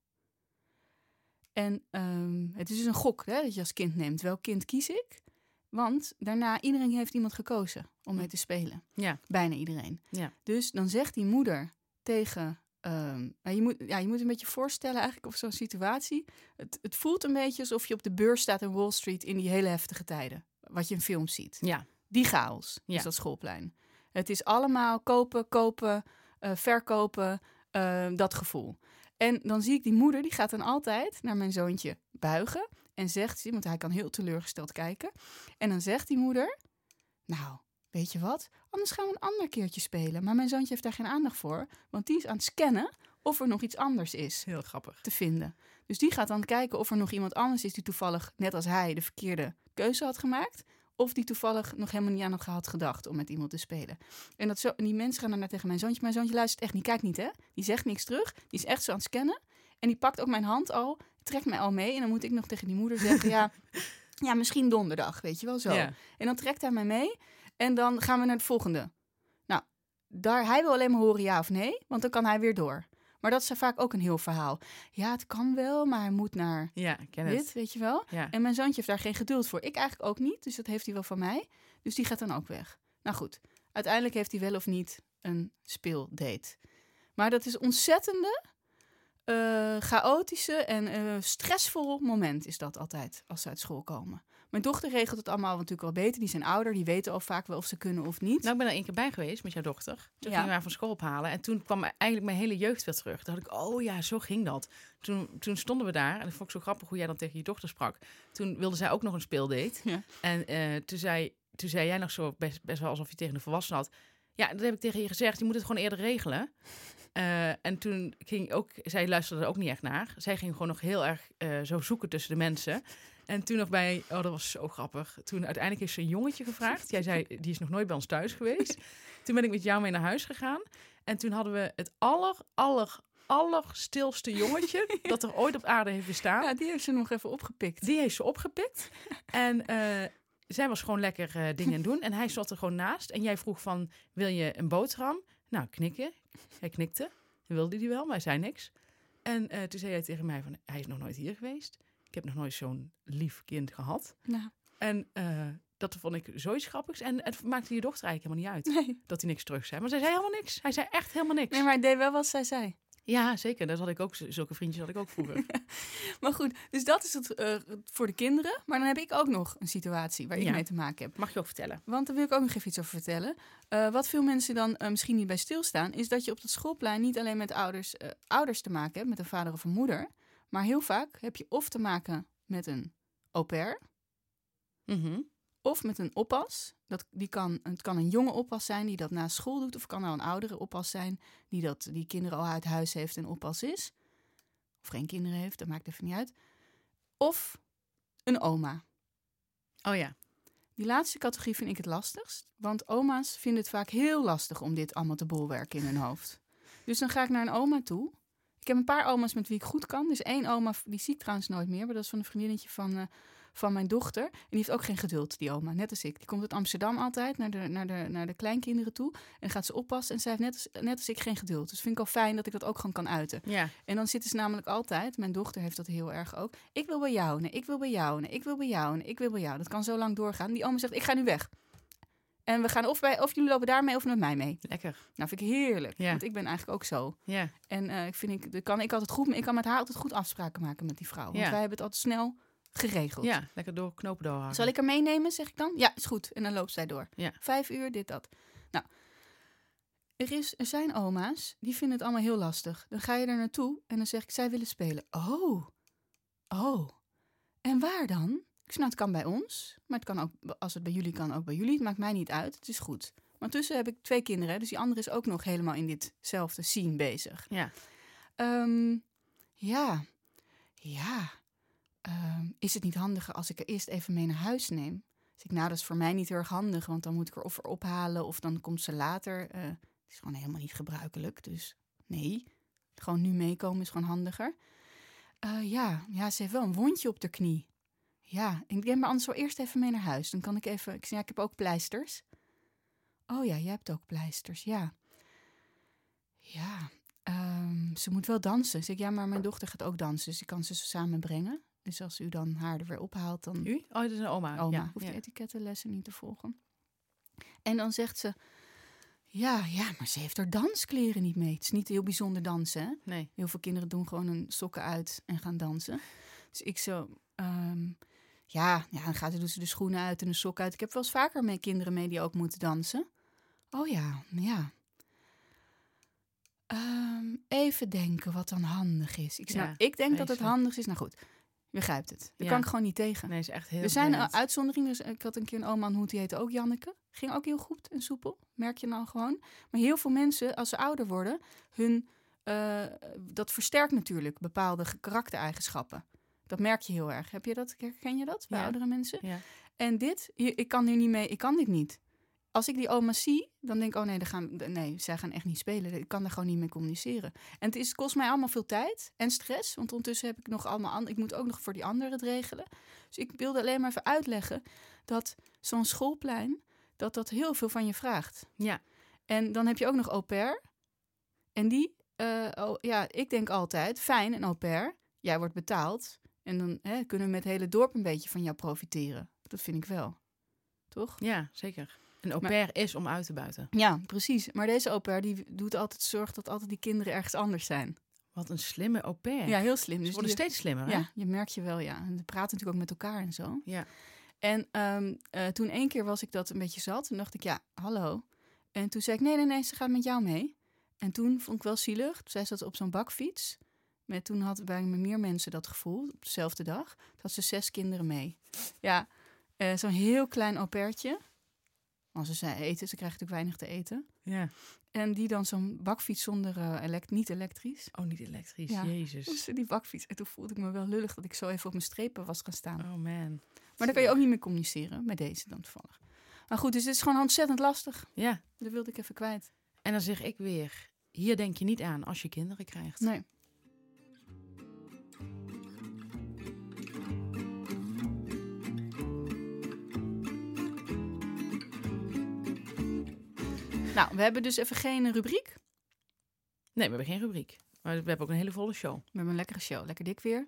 En ehm, het is dus een gok hè, dat je als kind neemt. Welk kind kies ik? Want daarna, iedereen heeft iemand gekozen om mee te spelen. Ja. Bijna iedereen. Ja. Dus dan zegt die moeder tegen... ehm, nou, je, moet, ja, je moet een beetje voorstellen eigenlijk of zo'n situatie. Het, het voelt een beetje alsof je op de beurs staat in Wall Street in die hele heftige tijden. Wat je in films ziet. Ja. Die chaos Ja. is dat schoolplein. Het is allemaal kopen, kopen, eh, verkopen, eh, dat gevoel. En dan zie ik die moeder, die gaat dan altijd naar mijn zoontje buigen. En zegt ze, want hij kan heel teleurgesteld kijken. En dan zegt die moeder, nou, weet je wat? Anders gaan we een ander keertje spelen. Maar mijn zoontje heeft daar geen aandacht voor. Want die is aan het scannen of er nog iets anders is Heel grappig. te vinden. Dus die gaat dan kijken of er nog iemand anders is die toevallig, net als hij, de verkeerde keuze had gemaakt. Of die toevallig nog helemaal niet aan het had gedacht om met iemand te spelen. En dat zo, en die mensen gaan daarna tegen mijn zoontje. Mijn zoontje luistert echt niet, kijkt niet hè. Die zegt niks terug. Die is echt zo aan het scannen. En die pakt ook mijn hand al, trekt mij al mee. En dan moet ik nog tegen die moeder zeggen, ja, ja misschien donderdag, weet je wel zo. Ja. En dan trekt hij mij mee. En dan gaan we naar het volgende. Nou, daar, hij wil alleen maar horen ja of nee, want dan kan hij weer door. Maar dat is vaak ook een heel verhaal. Ja, het kan wel, maar hij moet naar Ja, ik ken dit, het. weet je wel. Ja. En mijn zoontje heeft daar geen geduld voor. Ik eigenlijk ook niet, dus dat heeft hij wel van mij. Dus die gaat dan ook weg. Nou goed, uiteindelijk heeft hij wel of niet een speeldate. Maar dat is ontzettende, eh, chaotische en eh, stressvol moment is dat altijd als ze uit school komen. Mijn dochter regelt het allemaal natuurlijk wel beter. Die zijn ouder, die weten al vaak wel of ze kunnen of niet. Nou, ik ben er één keer bij geweest met jouw dochter. Toen Ja. gingen we haar van school ophalen. En toen kwam eigenlijk mijn hele jeugd weer terug. Toen dacht ik, oh ja, zo ging dat. Toen, toen stonden we daar. En dat vond ik zo grappig hoe jij dan tegen je dochter sprak. Toen wilde zij ook nog een speeldate. Ja. En eh, toen, zei, toen zei jij nog zo best, best wel alsof je tegen een volwassene had... Ja, dat heb ik tegen je gezegd. Je moet het gewoon eerder regelen. Eh, en toen ging ook, zij luisterde er ook niet echt naar. Zij ging gewoon nog heel erg eh, zo zoeken tussen de mensen. En toen nog bij, oh dat was zo grappig. Toen uiteindelijk is ze een jongetje gevraagd. Jij zei, die is nog nooit bij ons thuis geweest. Toen ben ik met jou mee naar huis gegaan. En toen hadden we het aller, aller, aller stilste jongetje dat er ooit op aarde heeft bestaan. Nou, Ja, die heeft ze nog even opgepikt. Die heeft ze opgepikt. En eh, zij was gewoon lekker eh, dingen aan het doen. En hij zat er gewoon naast. En jij vroeg van, wil je een boterham? Nou, knikken. Hij knikte. Dan wilde hij wel, maar hij zei niks. En eh, toen zei hij tegen mij van, hij is nog nooit hier geweest. Ik heb nog nooit zo'n lief kind gehad. Nou, En eh, dat vond ik zoiets grappigs. En het maakte je dochter eigenlijk helemaal niet uit nee. dat hij niks terug zei. Maar zij zei helemaal niks. Hij zei echt helemaal niks. nee, maar hij deed wel wat zij zei. Ja, zeker. Dat had ik ook. Zulke vriendjes had ik ook vroeger. Maar goed, dus dat is het eh, voor de kinderen. Maar dan heb ik ook nog een situatie waar ik Ja. mee te maken heb. Mag je ook vertellen? Want daar wil ik ook nog even iets over vertellen. Eh, wat veel mensen dan eh, misschien niet bij stilstaan, is dat je op dat schoolplein niet alleen met ouders, eh, ouders te maken hebt, met een vader of een moeder. Maar heel vaak heb je of te maken met een au pair Mhm. of met een oppas. Dat, die kan, het kan een jonge oppas zijn die dat na school doet, of het kan nou een oudere oppas zijn die dat, die kinderen al uit huis heeft en oppas is. Of geen kinderen heeft, dat maakt even niet uit. Of een oma. Oh ja. Die laatste categorie vind ik het lastigst, want oma's vinden het vaak heel lastig om dit allemaal te bolwerken in hun hoofd. Dus dan ga ik naar een oma toe. Ik heb een paar oma's met wie ik goed kan. Dus één oma, die zie ik trouwens nooit meer, maar dat is van een vriendinnetje van, eh, van mijn dochter. En die heeft ook geen geduld, die oma, net als ik. Die komt uit Amsterdam altijd naar de, naar de, naar de kleinkinderen toe en gaat ze oppassen. En zij heeft net als, net als ik geen geduld. Dus vind ik al fijn dat ik dat ook gewoon kan uiten. Ja. En dan zitten ze namelijk altijd, mijn dochter heeft dat heel erg ook. Ik wil bij jou, nee, ik wil bij jou, nee, ik wil bij jou, nee, ik wil bij jou. Dat kan zo lang doorgaan. Die oma zegt, ik ga nu weg. En we gaan of, bij, of jullie lopen daar mee of met mij mee. Lekker. Nou, vind ik heerlijk, Ja. want ik ben eigenlijk ook zo. Ja. En eh, ik vind ik, dat kan ik altijd goed, ik kan met haar altijd goed afspraken maken met die vrouw. Want Ja. wij hebben het altijd snel geregeld. Ja, lekker door knopen doorhaken. Zal ik haar meenemen, zeg ik dan? Ja, is goed. En dan loopt zij door. Ja. Vijf uur, dit, dat. Nou, er, is, er zijn oma's, die vinden het allemaal heel lastig. Dan ga je er naartoe en dan zeg ik, zij willen spelen. Oh, oh. En waar dan? Ik snap, het kan bij ons, maar het kan ook, als het bij jullie kan, ook bij jullie. Het maakt mij niet uit, het is goed. Maar tussen heb ik twee kinderen, hè, dus die andere is ook nog helemaal in ditzelfde scene bezig. Ja. Ehm, ja, ja. Ehm, is het niet handiger als ik er eerst even mee naar huis neem? Dus ik, nou, dat is voor mij niet heel erg handig, want dan moet ik er of er ophalen of dan komt ze later. Eh, het is gewoon helemaal niet gebruikelijk, dus nee. Gewoon nu meekomen is gewoon handiger. Eh, ja, ja, ze heeft wel een wondje op de knie. Ja, ik denk maar anders wel eerst even mee naar huis. Dan kan ik even... Ik zei, ja, ik heb ook pleisters. Oh ja, jij hebt ook pleisters, ja. Ja, Ehm, ze moet wel dansen. Zeg ik, ja, maar mijn dochter gaat ook dansen, dus ik kan ze samen brengen. Dus als u dan haar er weer ophaalt, dan U? Oh, dat is een oma. oma. Ja. Hoeft ja. die etikettenlessen niet te volgen. En dan zegt ze, ja, ja, maar ze heeft haar danskleren niet mee. Het is niet heel bijzonder dansen, hè? Nee. Heel veel kinderen doen gewoon hun sokken uit en gaan dansen. Dus ik zo, ehm, ja, ja, dan gaat ze, doet ze de schoenen uit en de sok uit. Ik heb wel eens vaker met kinderen mee die ook moeten dansen. Oh ja, ja. Ehm, even denken wat dan handig is. Ik, zeg, Ja, nou, ik denk dat het vreselijk. handig is. Nou goed, je begrijpt het. Daar Ja. kan ik gewoon niet tegen. Nee, is echt heel er zijn eh, vervelend. uitzonderingen. Dus ik had een keer een oma aan de hoed, die heette ook Janneke. Ging ook heel goed en soepel, merk je nou gewoon. Maar heel veel mensen, als ze ouder worden, hun, eh, dat versterkt natuurlijk bepaalde ge- karaktereigenschappen. Dat merk je heel erg. Heb je dat? Herken je dat bij Ja. oudere mensen? Ja. En dit, hier- ik kan nu niet mee, ik kan dit niet. Als ik die oma zie, dan denk ik, oh nee, dan gaan, nee zij gaan echt niet spelen. Ik kan daar gewoon niet mee communiceren. En het is, kost mij allemaal veel tijd en stress. Want ondertussen heb ik nog allemaal... an- Ik moet ook nog voor die anderen het regelen. Dus ik wilde alleen maar even uitleggen dat zo'n schoolplein... dat dat heel veel van je vraagt. Ja. En dan heb je ook nog au pair. En die, eh, oh, ja, ik denk altijd, fijn, een au pair. Jij wordt betaald. En dan hè, kunnen we met het hele dorp een beetje van jou profiteren. Dat vind ik wel. Toch? Ja, zeker. Een au Maar- pair is om uit te buiten. Ja, precies. Maar deze au pair die doet altijd zorg dat altijd die kinderen ergens anders zijn. Wat een slimme au pair. Ja, heel slim. Ze Dus worden die- steeds slimmer, hè? ja, je merkt je wel, ja. En ze praten natuurlijk ook met elkaar en zo. Ja. En ehm, eh, toen één keer was ik dat een beetje zat. Toen dacht ik, ja, hallo. En toen zei ik, nee, nee, nee, ze gaat met jou mee. En toen vond ik wel zielig. Zij zat op zo'n bakfiets. Maar toen had bij me meer mensen dat gevoel, op dezelfde dag. Toen had ze zes kinderen mee. Ja, eh, zo'n heel klein au pairtje. als ze zij eten, ze krijgen natuurlijk weinig te eten. Ja. En die dan zo'n bakfiets zonder eh, elect, niet elektrisch. Oh, niet elektrisch. Ja. Dus Jezus. die bakfiets. En toen voelde ik me wel lullig dat ik zo even op mijn strepen was gaan staan. Oh man. Maar dan kan je ook niet meer communiceren met deze dan toevallig. Maar goed, dus dit is gewoon ontzettend lastig. Ja. Dat wilde ik even kwijt. En dan zeg ik weer, hier denk je niet aan als je kinderen krijgt. Nee. Nou, we hebben dus even geen rubriek. Nee, we hebben geen rubriek. Maar we hebben ook een hele volle show. We hebben een lekkere show. Lekker dik weer.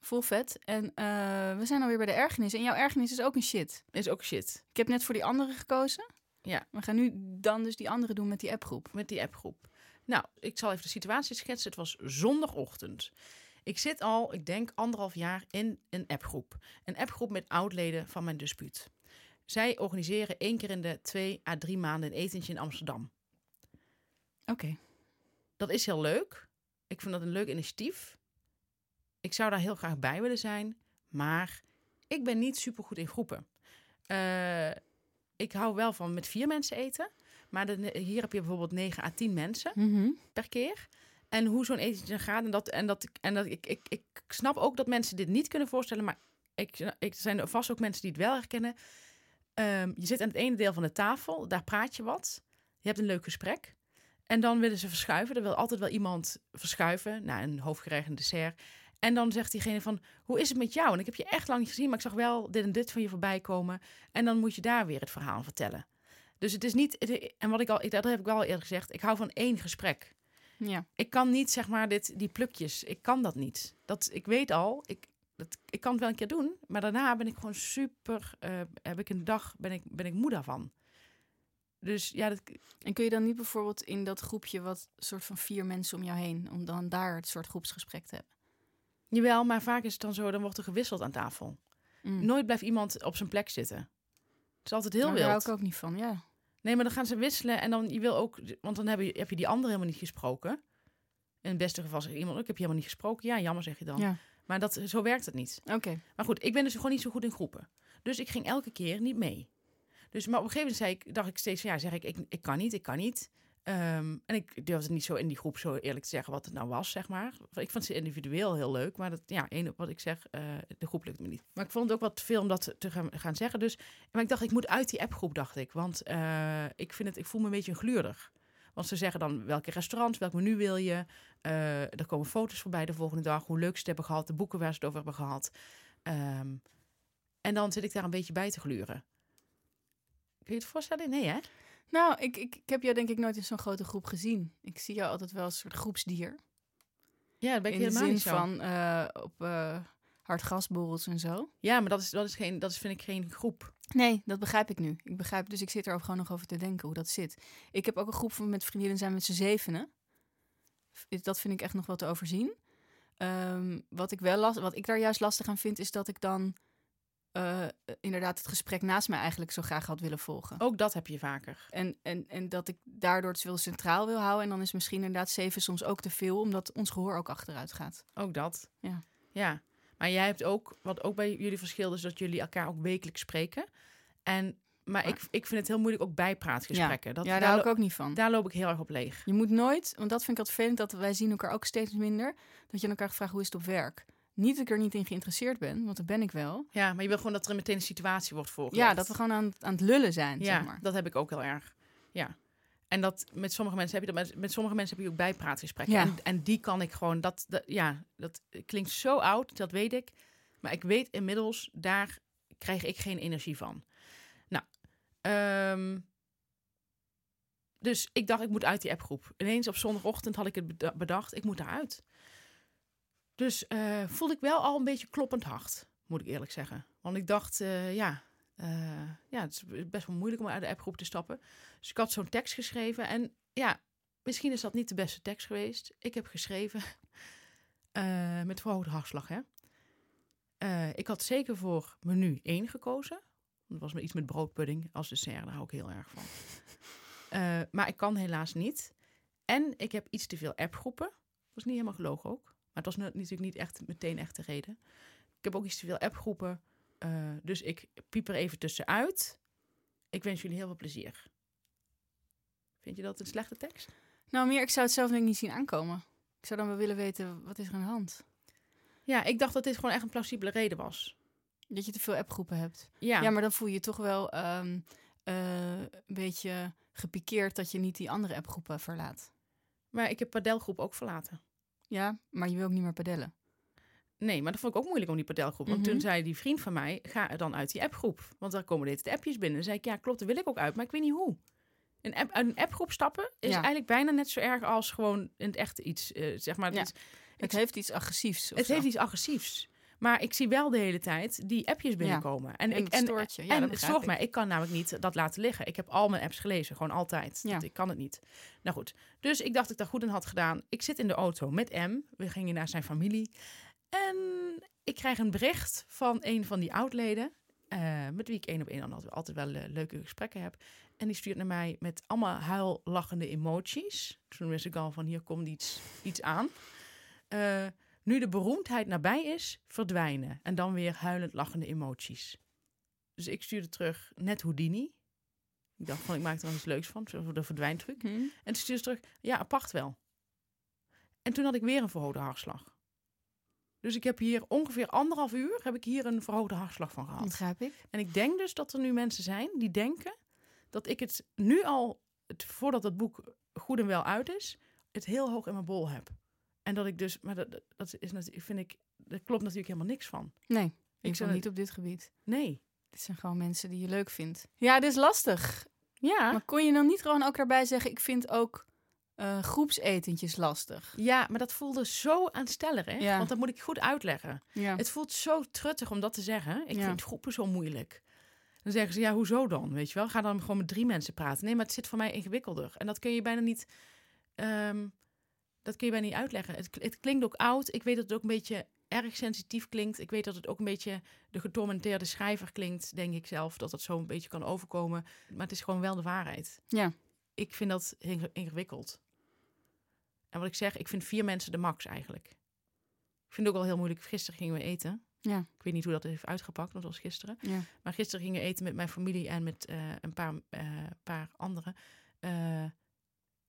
Vol vet. En eh, we zijn alweer bij de ergernis. En jouw ergernis is ook een shit. Is ook shit. Ik heb net voor die andere gekozen. Ja. We gaan nu dan dus die andere doen met die appgroep. Met die appgroep. Nou, ik zal even de situatie schetsen. Het was zondagochtend. Ik zit al, ik denk, anderhalf jaar in een appgroep. Een appgroep met oudleden van mijn dispuut. Zij organiseren één keer in de twee à drie maanden een etentje in Amsterdam. Oké. Dat is heel leuk. Ik vind dat een leuk initiatief. Ik zou daar heel graag bij willen zijn. Maar ik ben niet supergoed in groepen. Eh, ik hou wel van met vier mensen eten. Maar de- hier heb je bijvoorbeeld 9 à 10 mensen per keer. En hoe zo'n etentje gaat. En, dat, en, dat, ik- en dat, ik, ik, ik snap ook dat mensen dit niet kunnen voorstellen. Maar ik, ik, er zijn vast ook mensen die het wel herkennen. Ehm, je zit aan het ene deel van de tafel. Daar praat je wat. Je hebt een leuk gesprek. En dan willen ze verschuiven. Er wil altijd wel iemand verschuiven naar een hoofdgerecht, een dessert. En dan zegt diegene van, hoe is het met jou? En ik heb je echt lang niet gezien, maar ik zag wel dit en dit van je voorbij komen. En dan moet je daar weer het verhaal vertellen. Dus het is niet, het- en wat ik al, dat heb ik wel eerder gezegd, ik hou van één gesprek Ja. ik kan niet zeg maar dit, die plukjes. Ik kan dat niet. Dat, ik weet al, ik, dat, ik kan het wel een keer doen. Maar daarna ben ik gewoon super. eh, heb ik een dag, ben ik, ben ik moe daarvan. Dus ja, dat, En kun je dan niet bijvoorbeeld in dat groepje wat soort van vier mensen om jou heen, om dan daar het soort groepsgesprek te hebben? jawel, maar vaak is het dan zo, dan wordt er gewisseld aan tafel. Mm. Nooit blijft iemand op zijn plek zitten. Het is altijd heel Nou, Daar hou wild. ik ook niet van, ja. Nee, maar dan gaan ze wisselen en dan je wil ook, want dan heb je, heb je die andere helemaal niet gesproken. In het beste geval zegt iemand, ik heb je helemaal niet gesproken. Ja, jammer zeg je dan. Ja. Maar dat, zo werkt het niet. Oké. Maar goed, ik ben dus gewoon niet zo goed in groepen. Dus ik ging elke keer niet mee. Dus, maar op een gegeven moment zei ik, dacht ik steeds van ja, zeg ik, ik, ik kan niet, ik kan niet. Ehm, en ik durfde niet zo in die groep zo eerlijk te zeggen wat het nou was, zeg maar. Ik vond ze individueel heel leuk, maar dat, ja, één op wat ik zeg, eh, de groep lukt me niet. Maar ik vond het ook wat veel om dat te gaan, gaan zeggen. Dus, maar ik dacht, ik moet uit die appgroep, dacht ik. Want eh, ik, vind het, ik voel me een beetje een gluurder. Want ze zeggen dan welke restaurants, welk menu wil je. Eh, er komen foto's voorbij de volgende dag, hoe leuk ze het hebben gehad, de boeken waar ze het over hebben gehad. Ehm, en dan zit ik daar een beetje bij te gluren. Kun je het voorstellen? Nee, hè? Nou, ik, ik, ik heb jou denk ik nooit in zo'n grote groep gezien. Ik zie jou altijd wel als een soort groepsdier. Ja, dat ben ik in de helemaal zin niet zo. van eh, op eh hardgasborrels en zo. Ja, maar dat, is, dat, is geen, dat is, vind ik geen groep. Nee, dat begrijp ik nu. Ik begrijp, dus ik zit er ook gewoon nog over te denken hoe dat zit. Ik heb ook een groep van met vriendinnen zijn met z'n zevenen. F- Dat vind ik echt nog wel te overzien. Ehm, wat, ik wel last, wat ik daar juist lastig aan vind, is dat ik dan eh, inderdaad het gesprek naast mij eigenlijk zo graag had willen volgen. Ook dat heb je vaker. En, en, en dat ik daardoor het wel centraal wil houden. En dan is misschien inderdaad zeven soms ook te veel, omdat ons gehoor ook achteruit gaat. Ook dat. Ja. Ja. Maar jij hebt ook, wat ook bij jullie verschil is, dat jullie elkaar ook wekelijks spreken. En, maar ik, ik vind het heel moeilijk ook bijpraatgesprekken. Dat, nou, ja, daar, daar, hou ik lo- ook niet van. daar loop ik heel erg op leeg. Je moet nooit, want dat vind ik altijd vervelend, dat wij zien elkaar ook steeds minder, dat je aan elkaar vraagt hoe is het op werk. Niet dat ik er niet in geïnteresseerd ben, want dat ben ik wel. Ja, maar je wil gewoon dat er meteen een situatie wordt voorgelegd. Ja, dat we gewoon aan, aan het lullen zijn, Ja, zeg maar. dat heb ik ook heel erg. Ja. En dat met sommige mensen heb je dat met, met sommige mensen heb je ook bijpraatgesprekken. Ja. En, en die kan ik gewoon dat, dat ja, dat klinkt zo oud, dat weet ik. Maar ik weet inmiddels daar krijg ik geen energie van. Nou, ehm, dus ik dacht ik moet uit die appgroep. Ineens op zondagochtend had ik het beda- bedacht, ik moet daaruit. Dus eh, voelde ik wel al een beetje kloppend hart, moet ik eerlijk zeggen. Want ik dacht, eh, ja, eh, ja, het is best wel moeilijk om uit de appgroep te stappen. Dus ik had zo'n tekst geschreven. En ja, misschien is dat niet de beste tekst geweest. Ik heb geschreven eh, met verhoogde hartslag, hè. Eh, ik had zeker voor menu 1 gekozen. Dat was me iets met broodpudding als dessert. Daar hou ik heel erg van. Eh, maar ik kan helaas niet. En ik heb iets te veel appgroepen. Dat was niet helemaal gelogen ook. Maar het was nu- natuurlijk niet echt meteen echt de reden. Ik heb ook iets te veel appgroepen. eh, dus ik piep er even tussenuit. Ik wens jullie heel veel plezier. Vind je dat een slechte tekst? Nou, meer, ik zou het zelf denk ik niet zien aankomen. Ik zou dan wel willen weten, wat is er aan de hand? Ja, ik dacht dat dit gewoon echt een plausibele reden was. Dat je te veel appgroepen hebt. Ja, Ja. maar dan voel je je toch wel ehm, eh, een beetje gepikeerd dat je niet die andere appgroepen verlaat. maar ik heb padelgroep ook verlaten. Ja, maar je wil ook niet meer padellen. Nee, maar dat vond ik ook moeilijk om die padelgroep. Want Mhm. toen zei die vriend van mij, ga er dan uit die appgroep. Want daar komen dit de appjes binnen. Dan zei ik, ja klopt, dat wil ik ook uit, maar ik weet niet hoe. Een, app, uit een appgroep stappen is Ja. eigenlijk bijna net zo erg als gewoon in het echt iets, eh, zeg maar. Ja. Het, is- Het Ik- heeft iets agressiefs. of het zo. heeft iets agressiefs. Maar ik zie wel de hele tijd die appjes binnenkomen. En, en ik, het en, stoort je. Ja, en dat het begrijp zorgt ik. mij, ik kan namelijk niet dat laten liggen. Ik heb al mijn apps gelezen, gewoon altijd. Ja. Dat- ik kan het niet. Nou goed, dus ik dacht ik daar goed aan had gedaan. Ik zit in de auto met M. We gingen naar zijn familie. En ik krijg een bericht van een van die oudleden. eh, met wie ik één op één altijd- altijd wel eh, leuke gesprekken heb. En die stuurt naar mij met allemaal huillachende emoties. Toen wist ik al van hier komt iets, iets aan. Eh, nu de beroemdheid nabij is, verdwijnen. En dan weer huilend lachende emoties. Dus ik stuurde terug net Houdini. Ik dacht van, ik maak er nog iets leuks van. zo De verdwijntruc. Hm. En toen stuurde ze terug, ja, apart wel. En toen had ik weer een verhoogde hartslag. Dus ik heb hier ongeveer anderhalf uur heb ik hier een verhoogde hartslag van Dat gehad. begrijp ik. En ik denk dus dat er nu mensen zijn die denken dat ik het nu al, het, voordat het boek goed en wel uit is, het heel hoog in mijn bol heb. En dat ik dus, maar dat, dat is natuurlijk, vind ik, daar klopt natuurlijk helemaal niks van. Nee, zou ik, zou het- niet op dit gebied. Nee. Dit zijn gewoon mensen die je leuk vindt. Ja, dit is lastig. Ja. Maar kon je dan niet gewoon ook daarbij zeggen, ik vind ook eh, groepsetentjes lastig? Ja, maar dat voelde zo aanstellerig. Ja. Want dat moet ik goed uitleggen. Ja. Het voelt zo truttig om dat te zeggen. Ik Ja. vind groepen zo moeilijk. Dan zeggen ze, ja, hoezo dan? Weet je wel, ga dan gewoon met drie mensen praten. Nee, maar het zit voor mij ingewikkelder. En dat kun je bijna niet, ehm, dat kun je bijna niet uitleggen. Het, kl- het klinkt ook oud. Ik weet dat het ook een beetje erg sensitief klinkt. Ik weet dat het ook een beetje de getormenteerde schrijver klinkt, denk ik zelf. Dat dat zo een beetje kan overkomen. Maar het is gewoon wel de waarheid. Ja. Ik vind dat inge- ingewikkeld. En wat ik zeg, ik vind vier mensen de max eigenlijk. Ik vind het ook wel heel moeilijk. Gisteren gingen we eten. Ja. Ik weet niet hoe dat heeft uitgepakt, want dat was gisteren. Ja. Maar gisteren gingen we eten met mijn familie en met eh, een paar, eh, paar anderen. Eh,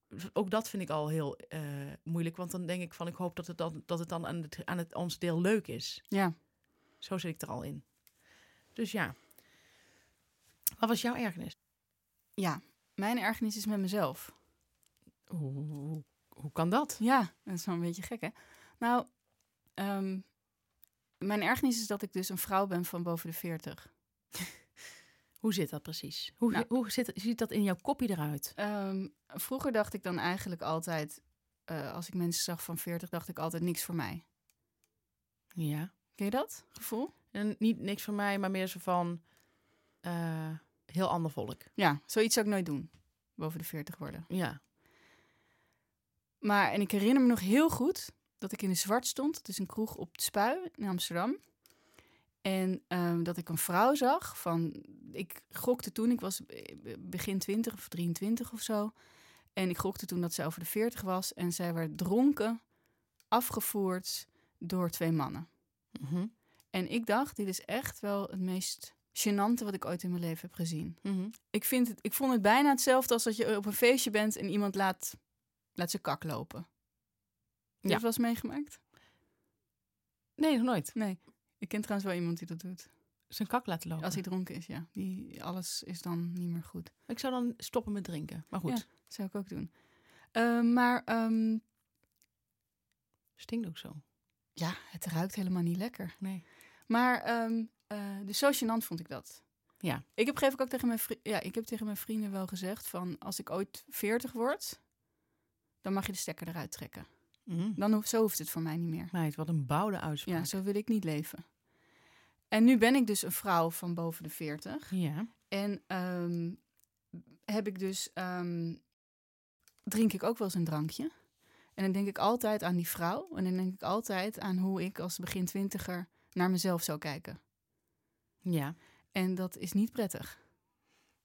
dus ook dat vind ik al heel eh, moeilijk. Want dan denk ik van, ik hoop dat het dan, dat het dan aan, het, aan het, ons deel leuk is. Ja. Zo zit ik er al in. Dus ja. Wat was jouw ergernis? ja, mijn ergernis is met mezelf. Hoe, hoe, hoe kan dat? Ja, dat is wel een beetje gek, hè? Nou, ehm, mijn ergernis is dat ik dus een vrouw ben van boven de 40. Hoe zit dat precies? Hoe, Nou. hoe zit, ziet dat in jouw kopje eruit? Ehm, vroeger dacht ik dan eigenlijk altijd, eh, als ik mensen zag van 40, dacht ik altijd niks voor mij. Ja. Ken je dat gevoel? En niet niks van mij, maar meer zo van eh, heel ander volk. Ja, zoiets zou ik nooit doen. Boven de 40 worden. Ja. Maar, en ik herinner me nog heel goed dat ik in de zwart stond. Het is een kroeg op het Spui in Amsterdam. En ehm, dat ik een vrouw zag van... Ik gokte toen, ik was eh, begin 20 of 23 of zo. En ik gokte toen dat zij over de 40 was. En zij werd dronken, afgevoerd door twee mannen. Mhm. En ik dacht, dit is echt wel het meest gênante wat ik ooit in mijn leven heb gezien. Mhm. Ik, vind het, ik vond het bijna hetzelfde als dat je op een feestje bent en iemand laat, laat zijn kak lopen. Heb je Ja. dat wel eens meegemaakt? Nee, nog nooit. Nee. Ik ken trouwens wel iemand die dat doet. Zijn kak laten lopen. Als hij dronken is, ja. Die, alles is dan niet meer goed. Ik zou dan stoppen met drinken. Maar goed, Zou ik ook doen. Eh, maar ehm, stinkt ook zo. ja, het ruikt helemaal niet lekker. Nee. Maar ehm eh, dus zo gênant vond ik dat. Ja. Ik heb geef ik ook tegen mijn, vri- ja, ik heb tegen mijn vrienden wel gezegd van... als ik ooit 40 word, dan mag je de stekker eruit trekken. Mhm. Dan hoef, zo hoeft het voor mij niet meer. Meid, wat een bouwde uitspraak. Ja, zo wil ik niet leven. En nu ben ik dus een vrouw van boven de 40. Ja. En ehm, heb ik dus. ehm, drink ik ook wel eens een drankje. En dan denk ik altijd aan die vrouw. En dan denk ik altijd aan hoe ik als begin twintiger naar mezelf zou kijken. Ja. En dat is niet prettig,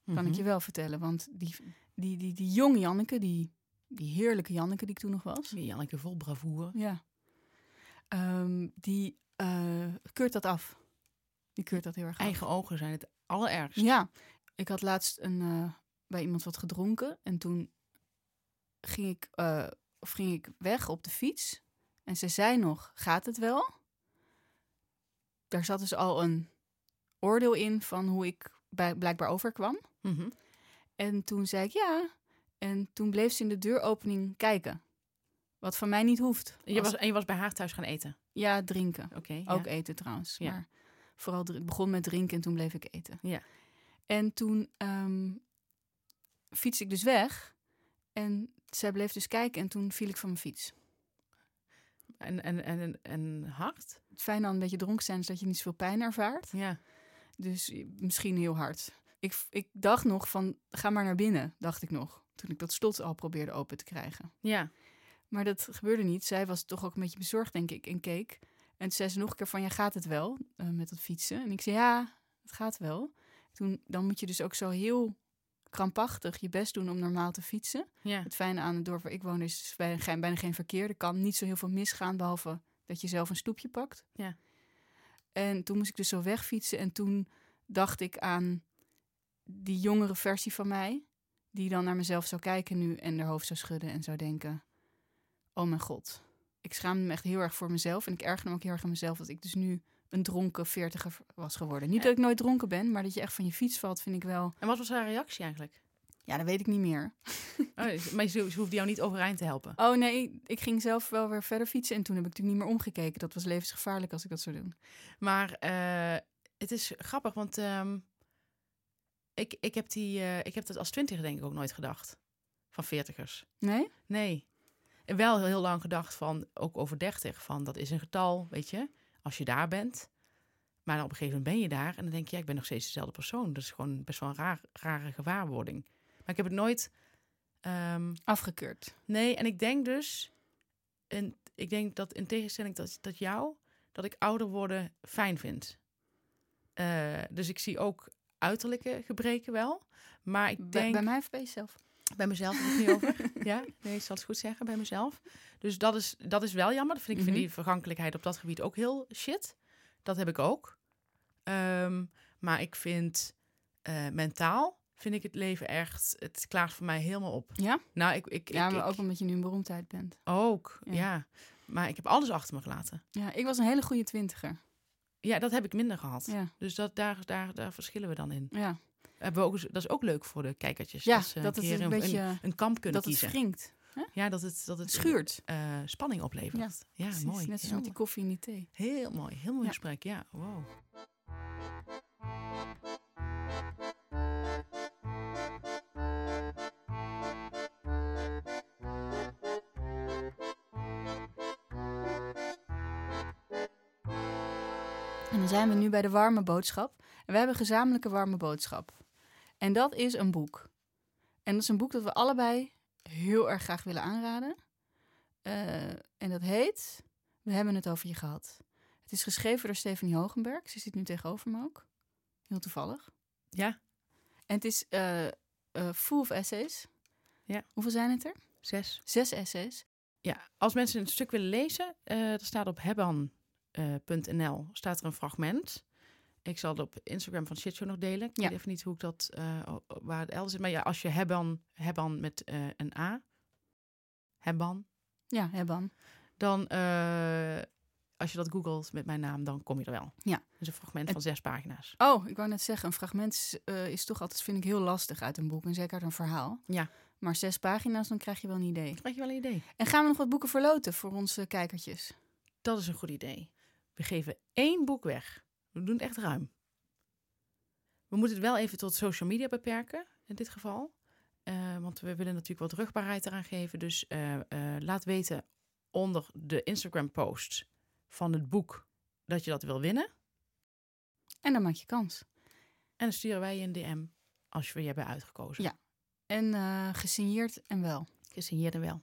kan ik je Mhm. wel vertellen. Want die, die, die, die jonge Janneke, die, die heerlijke Janneke die ik toen nog was. Die Janneke vol bravoure. Ja. Ehm, die eh, keurt dat af. Die keurt dat heel erg af. Eigen ogen zijn het allerergst. Ja, Ik had laatst een, eh, bij iemand wat gedronken. En toen ging ik, eh, of ging ik weg op de fiets. En ze zei nog, gaat het wel? Daar zat dus al een oordeel in van hoe ik bij, blijkbaar overkwam. Mhm. En toen zei ik ja. En toen bleef ze in de deuropening kijken. Wat van mij niet hoeft. Je Als- was, en je was bij haar thuis gaan eten. Ja, drinken. Oké. Ook ja. eten trouwens. Ja. Maar vooral dr- ik begon met drinken en toen bleef ik eten. Ja. En toen ehm fiets ik dus weg. En zij bleef dus kijken en toen viel ik van mijn fiets. En, en, en, en hard? Het fijne aan een beetje dronken zijn is dat je niet zoveel pijn ervaart. Ja. Dus eh, misschien heel hard. Ik, v- ik dacht nog van, ga maar naar binnen, dacht ik nog. Toen ik dat slot al probeerde open te krijgen. Ja. Maar dat gebeurde niet. Zij was toch ook een beetje bezorgd, denk ik, en keek. En toen zei ze nog een keer van, ja, gaat het wel eh, met dat fietsen? En ik zei, ja, het gaat wel. Toen, dan moet je dus ook zo heel krampachtig je best doen om normaal te fietsen. Ja. Het fijne aan het dorp waar ik woon is bijna geen, bijna geen verkeer. Er kan niet zo heel veel misgaan, behalve dat je zelf een stoepje pakt. Ja. En toen moest ik dus zo wegfietsen. En toen dacht ik aan die jongere versie van mij. Die dan naar mezelf zou kijken nu en haar hoofd zou schudden en zou denken... Oh mijn god. Ik schaamde me echt heel erg voor mezelf. En ik ergerde me ook heel erg aan mezelf dat ik dus nu een dronken veertiger was geworden. Niet dat ik nooit dronken ben, maar dat je echt van je fiets valt, vind ik wel... En wat was haar reactie eigenlijk? Ja, dat weet ik niet meer. Oh, dus- maar ze, ze hoefde jou niet overeind te helpen. Oh nee, ik ging zelf wel weer verder fietsen en toen heb ik natuurlijk niet meer omgekeken. Dat was levensgevaarlijk als ik dat zou doen. Maar eh, het is grappig, want ehm, ik, ik, heb die, eh, ik heb dat als twintiger denk ik ook nooit gedacht. Van veertigers. Nee? Nee. En wel heel, heel lang gedacht van, ook over dertig, van dat is een getal, weet je. Als je daar bent. Maar dan op een gegeven moment ben je daar en dan denk je, ja, ik ben nog steeds dezelfde persoon. Dat is gewoon best wel een raar, rare gewaarwording. Maar ik heb het nooit... ehm, Afgekeurd. Nee, en ik denk dus, en ik denk dat in tegenstelling dat, dat jou, dat ik ouder worden fijn vind. Eh, dus ik zie ook uiterlijke gebreken wel. Maar ik Bij, denk bij mij of bij jezelf? bij mezelf heb ik het niet over. Ja, nee, ik zal het goed zeggen, bij mezelf. Dus dat is, dat is wel jammer. Dat vind ik Mhm. vind die vergankelijkheid op dat gebied ook heel shit. Dat heb ik ook. Ehm, maar ik vind eh, mentaal, vind ik het leven echt, het klaart voor mij helemaal op. Ja? Nou, ik, ik, ja, ik- maar ik- ook omdat je nu een beroemdheid bent. ook, Ja. ja. Maar ik heb alles achter me gelaten. Ja, ik was een hele goede twintiger. Ja, dat heb ik minder gehad. Ja, Dus dat, daar, daar, daar verschillen we dan in. ja. Hebben we ook, eens- dat is ook leuk voor de kijkertjes. ja dat ze dat een, het keer een beetje een kamp kunnen dat het kiezen. wringt. ja, dat het, dat Het het schuurt. eh, spanning oplevert. Ja, Precies, mooi. Net zoals heel, met die koffie en die thee. heel mooi. Heel mooi Ja. gesprek. Ja, wow. En dan zijn we nu bij de warme boodschap. En we hebben een gezamenlijke warme boodschap. En dat is een boek. En dat is een boek dat we allebei heel erg graag willen aanraden. Eh, en dat heet We hebben het over je gehad. Het is geschreven door Stephanie Hogenberg. Ze zit nu tegenover me ook. Heel toevallig. Ja, En het is eh, eh, full of essays. Ja. Hoeveel zijn het er? zes. Zes essays. Ja, als mensen een stuk willen lezen, eh er staat op eh, hebban.nl staat er een fragment. Ik zal het op Instagram van Shitshow nog delen. Ik Ja. weet even niet hoe ik dat, eh, o- o- waar het elders is. Maar ja, als je hebban, hebban met eh, een A, hebban, Ja, Hebban. dan eh, als je dat googelt met mijn naam, dan kom je er wel. Ja. Dat is een fragment Het- van zes pagina's. Oh, ik wou net zeggen, een fragment is, eh, is toch altijd, vind ik, heel lastig uit een boek. En zeker uit een verhaal. Ja. Maar zes pagina's, dan krijg je wel een idee. Krijg je wel een idee? En gaan we nog wat boeken verloten voor onze kijkertjes? Dat is een goed idee. We geven één boek weg. We doen het echt ruim. We moeten het wel even tot social media beperken, in dit geval. Eh, want we willen natuurlijk wat rugbaarheid eraan geven. Dus eh, eh, laat weten onder de Instagram-post van het boek dat je dat wil winnen. En dan maak je kans. En dan sturen wij je een DM als we je hebben uitgekozen. Ja. En eh, gesigneerd en wel. Gesigneerd en wel.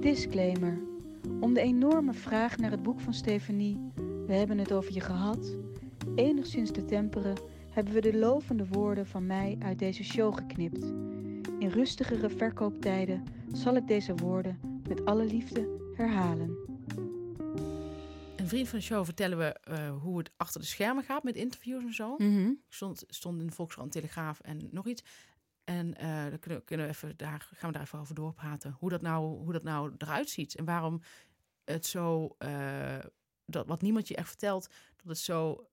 Disclaimer. Om de enorme vraag naar het boek van Stefanie, we hebben het over je gehad, enigszins te temperen, hebben we de lovende woorden van mij uit deze show geknipt. In rustigere verkooptijden zal ik deze woorden met alle liefde herhalen. En een vriend van de show vertellen we eh, hoe het achter de schermen gaat met interviews en zo. Mhm. Ik stond, stond in de Volkskrant, Telegraaf en nog iets. En eh, dan kunnen, we- kunnen we even daar, gaan we daar even over doorpraten. Hoe dat nou, hoe dat nou eruit ziet. En waarom het zo, eh, dat, wat niemand je echt vertelt, dat het zo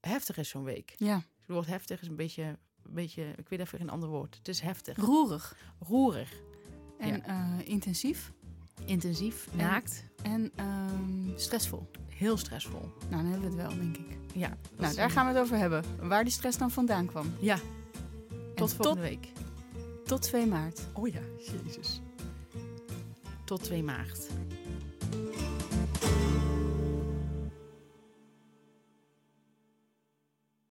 heftig is zo'n week. Ja, Het woord heftig is een beetje, een beetje, ik weet even geen ander woord. Het is heftig. roerig Roerig. en eh, intensief Intensief. Naakt. en ehm, stressvol. Heel stressvol. Nou, dan hebben we het wel, denk ik. Ja. dat nou, is daar een- gaan we het over hebben. Waar die stress dan vandaan kwam. Ja, En tot tot, volgende week. tot 2 maart. Oh ja, jezus. Tot 2 maart.